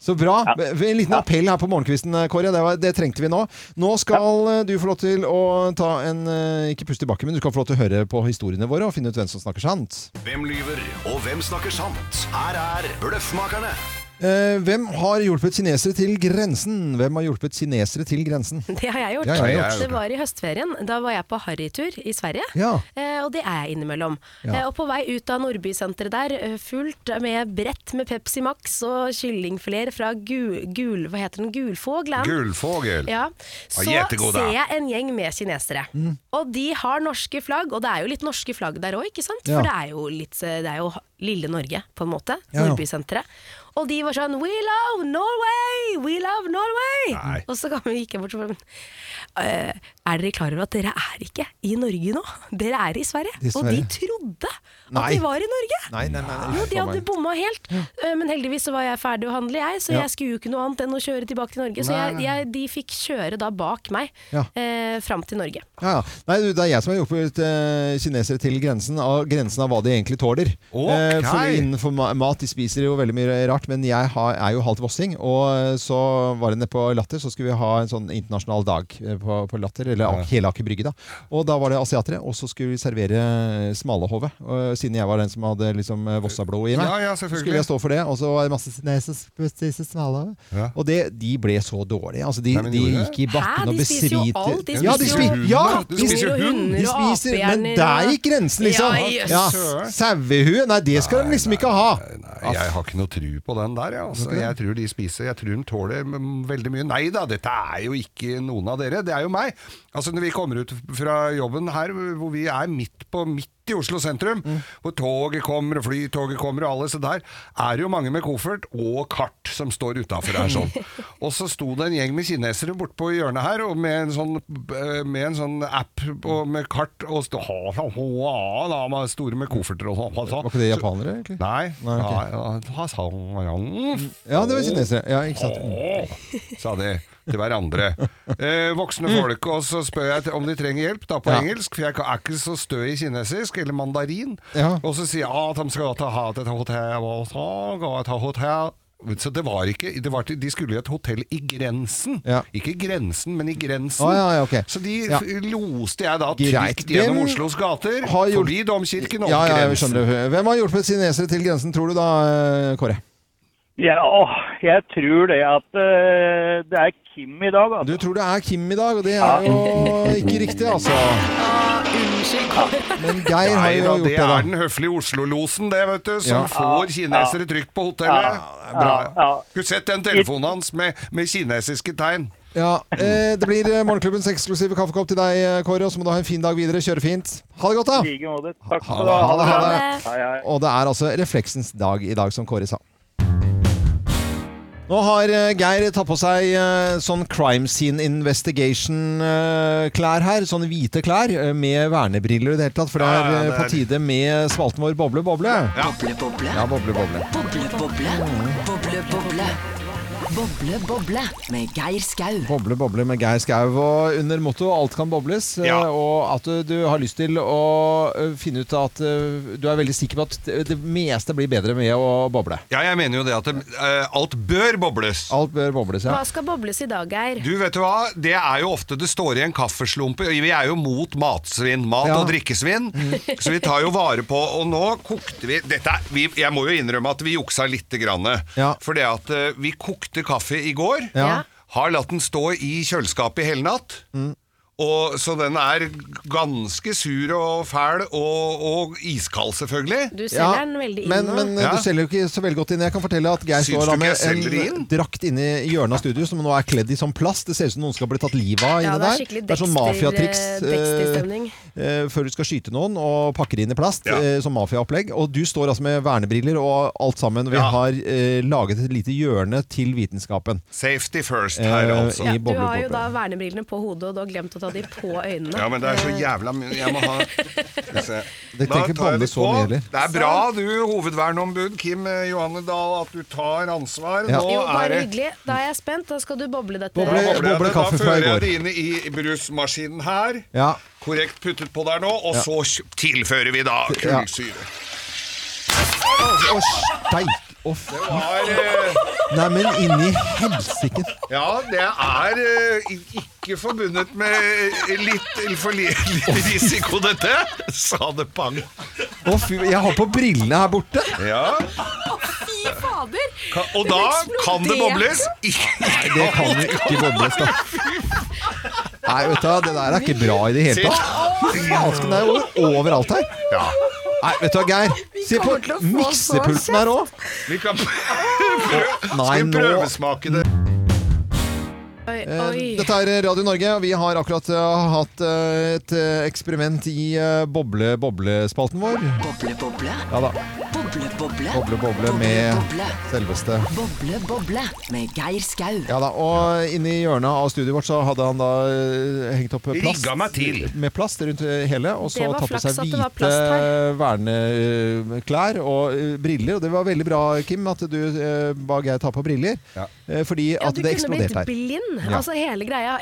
A: så bra. En liten appell her på morgenkvisten, eh, Kåre. Det, var, det trengte vi nå. Nå skal eh, du få lov til å ta en eh, Ikke pust tilbake, men du skal få lov til å høre på historiene våre og finne ut hvem som snakker sant.
H: Hvem lyver, og hvem snakker sant? Her er Bløffmakerne.
A: Eh, Hvem har hjulpet kinesere til grensen? Hvem har hjulpet kinesere til grensen?
C: Det har jeg gjort.
A: Det har jeg
B: gjort.
C: Det var i høstferien. Da var jeg på harrytur i Sverige.
A: Ja.
C: Eh, og det er jeg innimellom.
A: Ja.
C: Eh, og på vei ut av Nordbysenteret der, eh, fullt med brett med Pepsi Max og kyllingfileter fra gul, gul... Hva heter den? Gulfågland?
B: Gullfågel.
C: Ja. Så
B: gjetegod, da.
C: ser jeg en gjeng med kinesere. Og de har norske flagg, og det er jo litt norske flagg der òg, ikke sant?
A: Ja.
C: For det er, jo litt, eh, det er jo lille Norge, på en måte.
A: Ja, ja.
C: Nordbysenteret. Og de var sånn We love Norway! We love Norway!
B: Nei.
C: Og så kan vi ikke bort sånn Er dere klar over at dere er ikke i Norge nå? Dere er i Sverige. Og
A: Dessverre.
C: de trodde at
A: Nei.
C: de var i Norge!
A: Nei, nei, nei. nei.
C: Jo, de
A: for
C: hadde
A: meg.
C: bomma helt. Eh, Men heldigvis så var jeg ferdig å handle, jeg. Så
A: Ja.
C: jeg skulle jo ikke noe annet enn å kjøre tilbake til Norge. Så jeg, jeg, de fikk kjøre da bak meg
A: Ja.
C: eh, fram til Norge.
A: ja, ja. Nei, du, det er jeg som har hjulpet eh, kinesere til grensen av, grensen av hva de egentlig tåler.
B: Ok.
A: Eh, for innenfor ma mat, de spiser jo veldig mye rart, men jeg har, er jo halvt vossing. Og eh, så var det nede på Latter, så skulle vi ha en sånn internasjonal dag eh, på på, på Latter, eller Ak- hele Aker Brygge, da. Og da var det asiatere, og så skulle vi servere eh, smalahove. Og Siden jeg var den som hadde liksom eh, Vossablod i meg,
B: Ja, ja,
A: så
B: selvfølgelig.
A: skulle jeg stå for det. Og så var det masse nei, så spiser smalahove.
B: Ja.
A: Og det, de ble så dårlige. Altså, de,
B: Nei, men
A: de
B: gjorde det?
A: gikk i
I: Hæ,
A: bakken
I: de
A: og
I: spiser jo alt.
A: besvimte.
I: De
A: Ja,
I: spiser
A: de spiser,
B: jo
A: ja,
B: hund, da.
A: de
B: De
A: spiser
B: spiser jo
A: hund!
I: hunder
A: De
I: og
A: spiser,
I: apehjerner
A: men der
I: og-
A: gikk grensen, liksom!
I: Ja, jøss.
A: Ja,
B: Søren.
A: Sauehue? Nei, det skal de liksom ikke ha!
B: Nei, jeg har ikke noe tru på den der. Jeg, altså. jeg tror de spiser Jeg tror de tåler mm, veldig mye. Nei da, dette er jo ikke noen av dere. Det er jo meg. Altså Når vi kommer ut fra jobben her, hvor vi er midt på midt i Oslo sentrum,
A: Mm.
B: hvor toget kommer og flytoget kommer og alle så der, er det jo mange med koffert og kart som står utafor her sånn. Og så sto det en gjeng med kinesere bortpå hjørnet her, og med en sånn, eh, med en sånn app og med kart og stå, store med kofferter og sånn.
A: Var ikke det japanere, egentlig?
B: Nei.
A: Nei, ok. Mm.
B: Ja, sånn, ja, ta sang-
A: Ja, det var kinesere. Ja, ikke sant.
B: Sa de til hverandre. Eh, voksne folk. Og så spør jeg om de trenger hjelp, da på
A: Mm. Ja.
B: engelsk, for jeg er ikke så stø i kinesisk eller mandarin.
A: Ja.
B: Og så sier jeg at de skal ta ha et hotell, og så ga et hotell. Så det var ikke det var, til- De skulle i et hotell i grensen.
A: Ja.
B: Ikke grensen, men i grensen.
A: Å, ja, ja, ok.
B: Så de
A: Ja.
B: loste jeg da
A: Greit.
B: trygt gjennom
A: Hvem
B: Oslos gater,
A: har gjort-
B: forbi domkirken og
A: Ja,
B: opp
A: ja, jeg
B: grensen.
A: skjønner det. Hvem har hjulpet kinesere til grensen, tror du da, eh, Kåre?
E: Ja, åh, jeg tror det at eh, det er Kim i dag.
A: Du
E: Altså.
A: tror det er Kim i dag, og det er jo ikke riktig, altså. Men Geir har
B: Nei
A: jo
B: da,
A: gjort
B: det
A: det,
B: er
A: da.
B: den høflige Oslo-losen, det, vet du, som
A: Ja.
B: får kinesere trygt på hotellet. Bra.
E: ja.
B: Skulle sett den telefonen hans med, med kinesiske tegn.
A: Ja, eh, det blir eh, Morgenklubbens eksklusive kaffekopp til deg, eh, Kåre, og så må du ha en fin dag videre. Kjøre fint. Ha det godt,
E: I
A: da!
E: like måte. Takk
A: Ha
E: skal du
A: det,
E: ha.
A: ha det, ha det.
I: Eh,
E: Hei, hei.
A: Og det er altså refleksens dag i dag, som Kåre sa. Nå har eh, Geir tatt på seg eh, sånn crime scene investigation-klær her. Sånne hvite klær eh, med vernebriller i det hele tatt, for det er
B: Ja, ja,
A: eh,
B: det
A: på
B: er-
A: tide med spalten vår Boble, boble.
F: Boble, boble.
A: Ja, boble, boble.
F: Boble, boble. Boble, boble. Boble, boble. Med Geir Skau.
A: Boble, boble med Geir Skau. Og under motto 'alt kan bobles', eh,
B: Ja.
A: og at du, du har lyst til å eh, finne ut at eh, du er veldig sikker på at det- det meste blir bedre med å boble.
B: Ja, jeg mener jo det at det, eh, alt bør bobles.
A: Alt bør bobles, ja.
I: Hva skal bobles i dag, Geir?
B: Du, vet du hva? Det er jo ofte det står i en kaffeslumpe. Vi er jo mot matsvinn, mat
A: Ja.
B: og drikkesvinn, så vi tar jo vare på Og nå kokte vi Dette er vi, Jeg må jo innrømme at vi juksa lite grann.
A: Ja.
B: For det at eh, vi kokte kaffe i går,
A: Ja.
B: har latt den stå i kjøleskapet i hele natt. Og, så den er ganske sur og fæl og, og iskald, selvfølgelig.
I: Du selger
A: Ja,
I: den veldig inn
A: men,
I: nå.
A: men eh,
B: Ja.
A: du selger jo ikke så veldig godt inn. Jeg kan fortelle at Geir
B: Syns
A: står
B: du
A: da
B: ikke
A: med
B: jeg
A: en
B: selger inn?
A: drakt inne i hjørnet av studio som nå er kledd i sånn plast. Det ser ut som noen skal bli tatt livet
I: Ja,
A: av
I: det
A: inni
I: er
A: der.
I: skikkelig
A: Det er sånn
I: Dexter-
A: mafiatriks
I: Dexter-stemning.
A: eh, eh, før du skal skyte noen, og pakker inn i plast.
B: Ja.
A: eh, som mafiaopplegg. Og du står altså med vernebriller og alt sammen. Vi
B: Ja.
A: har eh, laget et lite hjørne til vitenskapen.
B: Safety first
A: Eh,
B: her, altså.
A: i-
I: ja, du
A: boble,
I: har jo
A: boble.
I: da vernebrillene på hodet, og du har glemt å ta de på øynene.
B: Ja, men det er så jævla mye Jeg må ha Skal vi se.
A: Det
B: Da
A: tenker
B: tar
A: Bolle
B: jeg det
A: så
B: på.
A: mye, eller?
B: Det er bra du, hovedverneombud Kim eh, Johanne Dahl, at du tar ansvar.
A: Ja.
B: Nå
I: Jo,
B: er
I: bare
B: det
I: hyggelig. Da er jeg spent. Da skal du boble dette.
A: Boble.
B: Da bobler jeg det.
A: Boblekaffe
B: Da
A: fra i
B: fører
A: går.
B: jeg det inn i brusmaskinen her.
A: Ja.
B: Korrekt puttet på der nå, og så kj- tilfører vi da
A: Ja.
B: kullsyre.
A: Å, steik! Å, fy
B: Har, eh,
A: Neimen, inni helsike!
B: ja, det er eh, i- ikke forbundet med eh, litt, for li, litt risiko, dette, sa det pang.
A: Å, fy, jeg har på brillene her borte!
B: Ja.
I: Fy fader!
B: Ka- Og da kan det bobles. Ikke-
A: Det kan jo ikke bobles, da. Nei, vet du, hva, det der er ikke bra i det hele tatt. Fy Fasken det er jo overalt her.
B: Ja.
A: Nei, vet du hva, Geir. Se på
I: kommer til å få
A: miksepulten her òg.
B: Vi kan prøve,
A: Nei,
B: skal vi
A: nå-
B: prøvesmake det.
I: Oi, oi.
A: Eh, Dette er Radio Norge, og vi har akkurat eh, hatt eh, et eh, eksperiment i eh, boble-boble-spalten vår.
F: Boble, boble.
A: Ja da.
F: Boble, boble.
A: Boble, boble med selveste
F: Boble, boble. Med Geir Skau.
A: Ja da, og inni hjørnet av studioet vårt så hadde han da eh, hengt opp plast
B: Rigga meg til.
A: med plast rundt hele, og så
I: Det var
A: tatt på
I: flaks
A: seg
I: at det var
A: hvite
I: plast her.
A: verneklær og eh, briller. Og det var veldig bra, Kim, at du eh, ba Geir ta på briller,
B: Ja.
A: eh, fordi
I: Ja, du
A: at det
I: kunne blitt
A: eksploderte her.
I: blind.
A: Ja.
I: Altså, hele greia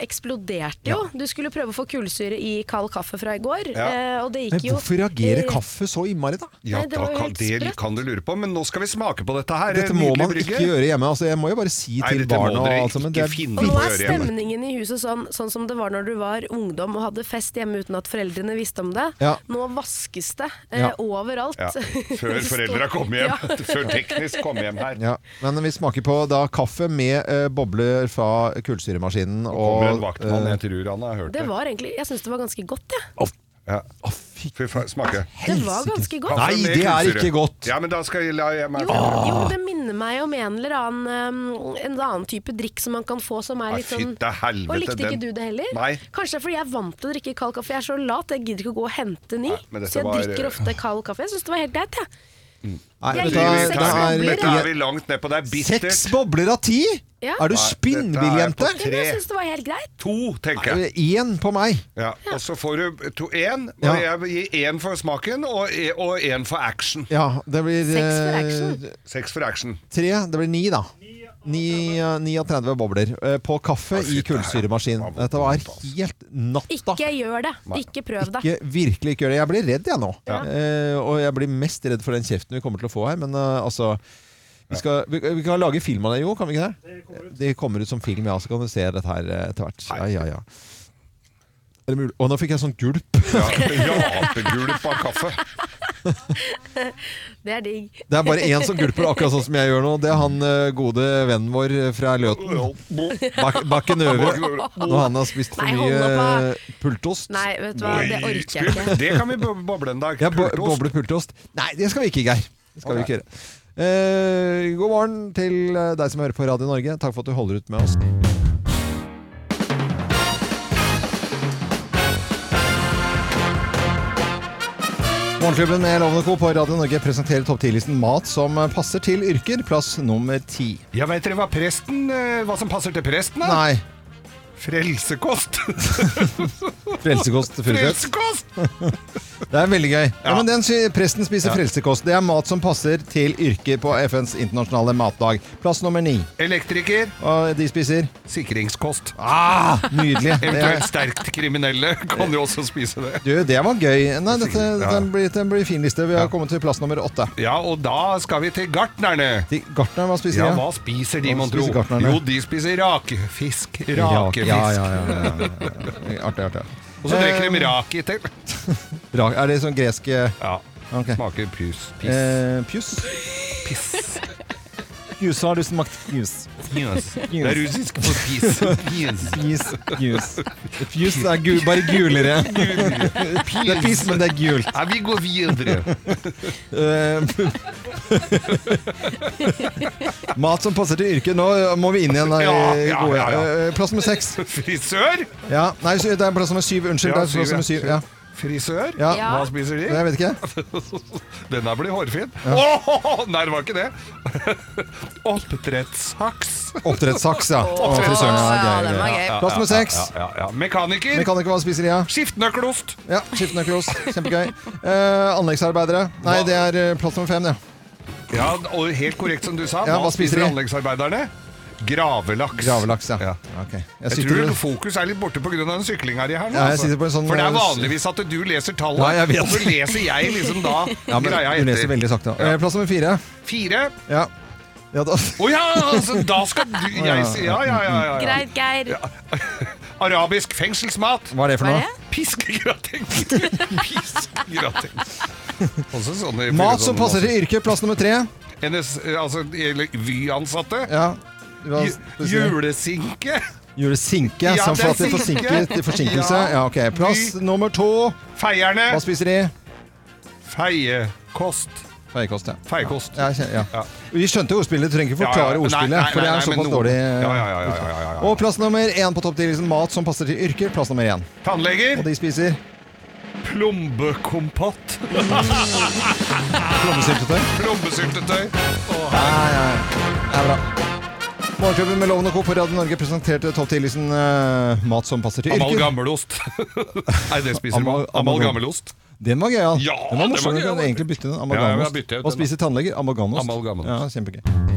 I: eksploderte jo. Du skulle prøve å få kullsyre i kald kaffe fra i går,
B: Ja.
I: eh, og det
A: Men
I: gikk jo
A: hvorfor reagerer
I: eh,
A: kaffe så innmari, da?
B: Ja,
I: Nei, det
B: da
I: var jo
B: kan,
I: helt
B: det
I: sprøtt.
B: kan du lure på, men nå skal vi smake på dette her. eh,
A: Dette må
B: Nydelig
A: man
B: brygge.
A: ikke gjøre hjemme. Altså, jeg må jo bare si
B: Nei,
A: til
B: dette må
A: barna og
B: dere
A: alt sammen
B: ikke
A: det er
B: finne
I: Og nå
B: på å
I: er
B: gjøre hjemme.
I: stemningen i huset sånn, sånn som det var når du var ungdom og hadde fest hjemme uten at foreldrene visste om det.
A: Ja.
I: Nå vaskes det eh,
A: Ja.
I: overalt.
B: Ja, før
I: Det står-
B: foreldra kom hjem.
I: Ja.
B: Før teknisk kom hjem her.
A: Ja, men vi smaker på da kaffe med eh, bobler fra kullsyremaskinen
B: Kommer en
A: og
B: vaktmann, jeg tror han har hørt
I: Det
B: det.
I: var egentlig, Jeg syns det var ganske godt, jeg.
B: Ja.
A: Å, fy
B: Fy faen, smake.
I: Det var ganske godt.
A: Nei,
B: Kaffe med
A: det er
B: kullsyre.
A: ikke godt.
B: Ja, men da skal jeg la jeg meg
I: Jo, jo, men det minner meg om en eller annen um, En annen type drikk som man kan få som er
B: Nei,
I: litt sånn
B: fytte helvete,
I: Og likte ikke
B: den-
I: du det heller?
B: Nei.
I: Kanskje det er fordi jeg er vant til å drikke kald kaffe. Jeg er så lat, jeg gidder ikke å gå og hente ny.
B: Nei, men dette
I: så jeg
B: var-
I: drikker ofte kald kaffe. Jeg syns det var helt greit, jeg.
A: Nei,
I: Jeg
A: vet du
B: Vi
A: hva,
I: liker seks
A: det
B: tar-
A: er,
I: bobler,
B: Dette er vi langt nedpå. Det er
A: Seks
B: bittert.
A: bobler av ti?
I: Ja.
A: Er du
B: Nei,
A: spinnvill,
B: dette
A: jente?
B: er på
I: Ja, men jeg
B: Tre.
I: syns det var helt greit.
B: To, tenker jeg.
A: Én Eh, på meg.
B: Ja, og så får du to, en, og
A: Ja.
B: jeg gir en for smaken og, e- og en for action.
A: Ja, det blir
I: Seks for
A: eh,
I: action.
B: Seks for action.
A: Tre, det blir ni, da. Ni- 39 bobler eh, på kaffe i
B: fytte her.
A: kullsyremaskin.
B: Hva- hva-
A: Dette var
B: hva-
A: helt natta.
I: Ikke gjør det. Ikke prøv det.
A: Ikke, virkelig ikke gjør det. Jeg blir redd, jeg nå. Eh, og jeg blir mest redd for den kjeften vi kommer til å få her. Men eh, altså vi, skal, vi, vi kan lage film av det, jo? Kan vi ikke det? Det kommer ut som film, ja. Så kan du se dette her eh, etter hvert. Ja, ja, ja. Er det mulig? Å, nå fikk jeg sånn gulp.
B: Ja, Rapegulp av kaffe.
I: Det er digg.
A: Det er bare én som gulper, akkurat sånn som jeg gjør nå. Det er han eh, gode vennen vår eh, fra Løten. Bak, bakken Øvre. Når han har spist for
I: Nei, hold
A: mye eh,
I: opp,
A: pultost.
I: Nei, vet du hva, det orker jeg ikke.
B: Det kan vi bo- boble en dag.
A: Ja, bo
B: Pultost.
A: boble pultost. Nei, det skal vi ikke, Geir. Det skal vi ikke gjøre. Eh, god morgen til eh, deg som hører på Radio Norge. Takk for at du holder ut med oss. Morgenklubben med Lovende Co. på Radio Norge presenterer topp 10-listen mat som eh, passer til yrker. Plass nummer ti.
B: Ja, vet dere hva presten eh, Hva som passer til presten? da?
A: Nei.
B: Frelsekost!
A: Frelsekost Furuseth.
B: Frelsekost!
A: Det er veldig gøy. Ja,
B: Ja.
A: men den sy- Presten spiser frelsekost. Det er mat som passer til yrket på FNs internasjonale matdag. Plass nummer ni.
B: Elektriker.
A: Og de spiser
B: Sikringskost.
A: ah, Nydelig.
B: Eventuelt
A: Det,
B: sterkt kriminelle kan jo også spise det.
A: du, det var gøy. Nei, dette,
B: Ja.
A: den, blir, den blir fin liste. Vi har kommet til plass nummer åtte.
B: Ja, og da skal vi til gartnerne.
A: De- Gartneren, hva spiser
B: Ja,
A: de?
B: hva spiser de,
A: Hva
B: mon tro?
A: spiser gartnerne?
B: Jo, de spiser rakefisk.
A: Ja,
B: Rakefisk.
A: Ja, ja, Eh. ja, ja, ja, ja, ja. Artig, artig.
B: Og så drikker de raki til.
A: Ra- Er det sånn gresk eh,
B: Ja.
A: Ok.
B: Smaker pus. Piss.
A: eh, pjus?
B: piss.
A: Pjus, har du smakt pjus?
B: Pjøs. Det er russisk for piss. Pjøs.
A: Pjus, pjus. Pjus er gu, bare gulere. Det er pjus, men det er gult.
B: Ja, vi går videre.
A: Eh, Mat som passer til yrket. Nå må vi inn igjen. Da, i
B: Ja, ja,
A: gode.
B: ja, ja.
A: Eh, Plass nummer seks.
B: Frisør?
A: Ja. Nei, så- det er plass nummer syv. Unnskyld.
B: Ja,
A: det er plass
B: syv,
A: nummer
B: ja.
A: syv. Ja.
B: Frisør?
A: Ja.
B: Hva spiser de?
A: Jeg vet ikke.
B: Denne blir hårfin. Åh, nei, det var ikke det. Oppdrettshaks.
A: Oppdrettssaks, ja. Å,
B: Oppdrettssaks.
A: fy søren, ja, gøy,
I: den var
A: gøy.
I: gøy.
A: Plass nummer seks.
B: Ja, ja, ja. Mekaniker.
A: Mekaniker, hva spiser de? Ja,
B: Skiftenøkkelost.
A: ja Skiftenøkkelos. Kjempegøy. Eh, anleggsarbeidere. Nei, det er eh, plass nummer fem, ja.
B: Ja, og helt korrekt som du sa.
A: Ja,
B: hva
A: hva spiser
B: spiser
A: de?
B: anleggsarbeiderne? Gravelaks.
A: Gravelaks, ja.
B: Ja.
A: Ok. Jeg
B: Jeg
A: sitter
B: tror fokus er litt borte pga. den syklinga di her. nå,
A: Ja, jeg
B: altså.
A: sitter på en sånn-
B: For det er vanligvis at du leser tallet,
A: Ja, jeg vet.
B: og så leser jeg liksom da
A: ja, men
B: greia
A: Du leser
B: etter.
A: veldig sakte. Eh, Plass nummer fire.
B: Fire.
A: Ja. ja da.
B: Å ja, altså, da skal du jeg, si- Ja, ja, ja. ja, ja.
I: Greit, Geir.
B: Arabisk fengselsmat.
A: Hva er det for
I: Hva er
A: noe?
I: det?
B: Piskegrateng. Piskegrateng. Også sånne
A: Mat som passer
B: til
A: til yrket. Plass nummer tre.
B: NS, altså, eller Vy-ansatte.
A: Ja. Hva
B: Ju-
A: spiser de?
B: Julesinke.
A: Gjorde sinke,
B: Ja,
A: som
B: det
A: for
B: er
A: at det
B: sinke.
A: forsinker til forsinkelse. Ja. ok. Plass
B: Ny.
A: nummer to.
B: Feierne.
A: Hva spiser de?
B: Feiekost.
A: Feiekost, ja.
B: Feiekost.
A: Ja, kje- ja.
B: Ja.
A: Vi skjønte jo ordspillet, trenger ikke
B: Ja,
A: forklare
B: ja. Nei,
A: ordspillet.
B: nei,
A: for det
B: nei,
A: er
B: nei,
A: såpass
B: men noe-
A: dårlig. eh,
B: Ja, ja, ja, ja, ja, ja, ja.
A: Og plass nummer én på topptillitsen mat som passer til yrker. Plass nummer én.
B: Tannleger.
A: Og de spiser
B: Plombekompott.
A: plommesyltetøy.
B: Plombesyltetøy.
A: Ja, ja, ja. Det er bra. Morgenklubben med Loven og Co. på Radio Norge presenterte topp 10-listen mat som passer til yrker.
B: Amalgamelost. Nei, det spiser man.
A: Amal-
B: Amalgamelost.
A: Den var gøyal.
B: Ja,
A: den var
B: den
A: morsom.
B: var
A: Du kan
B: gøyal.
A: egentlig bytte den.
B: Ja, jeg
A: Amalgamost.
B: bytter ut
A: Hva
B: den, da.
A: spiser tannleger? Amalgamost.
B: Amalgamost.
A: Ja, kjempegøy.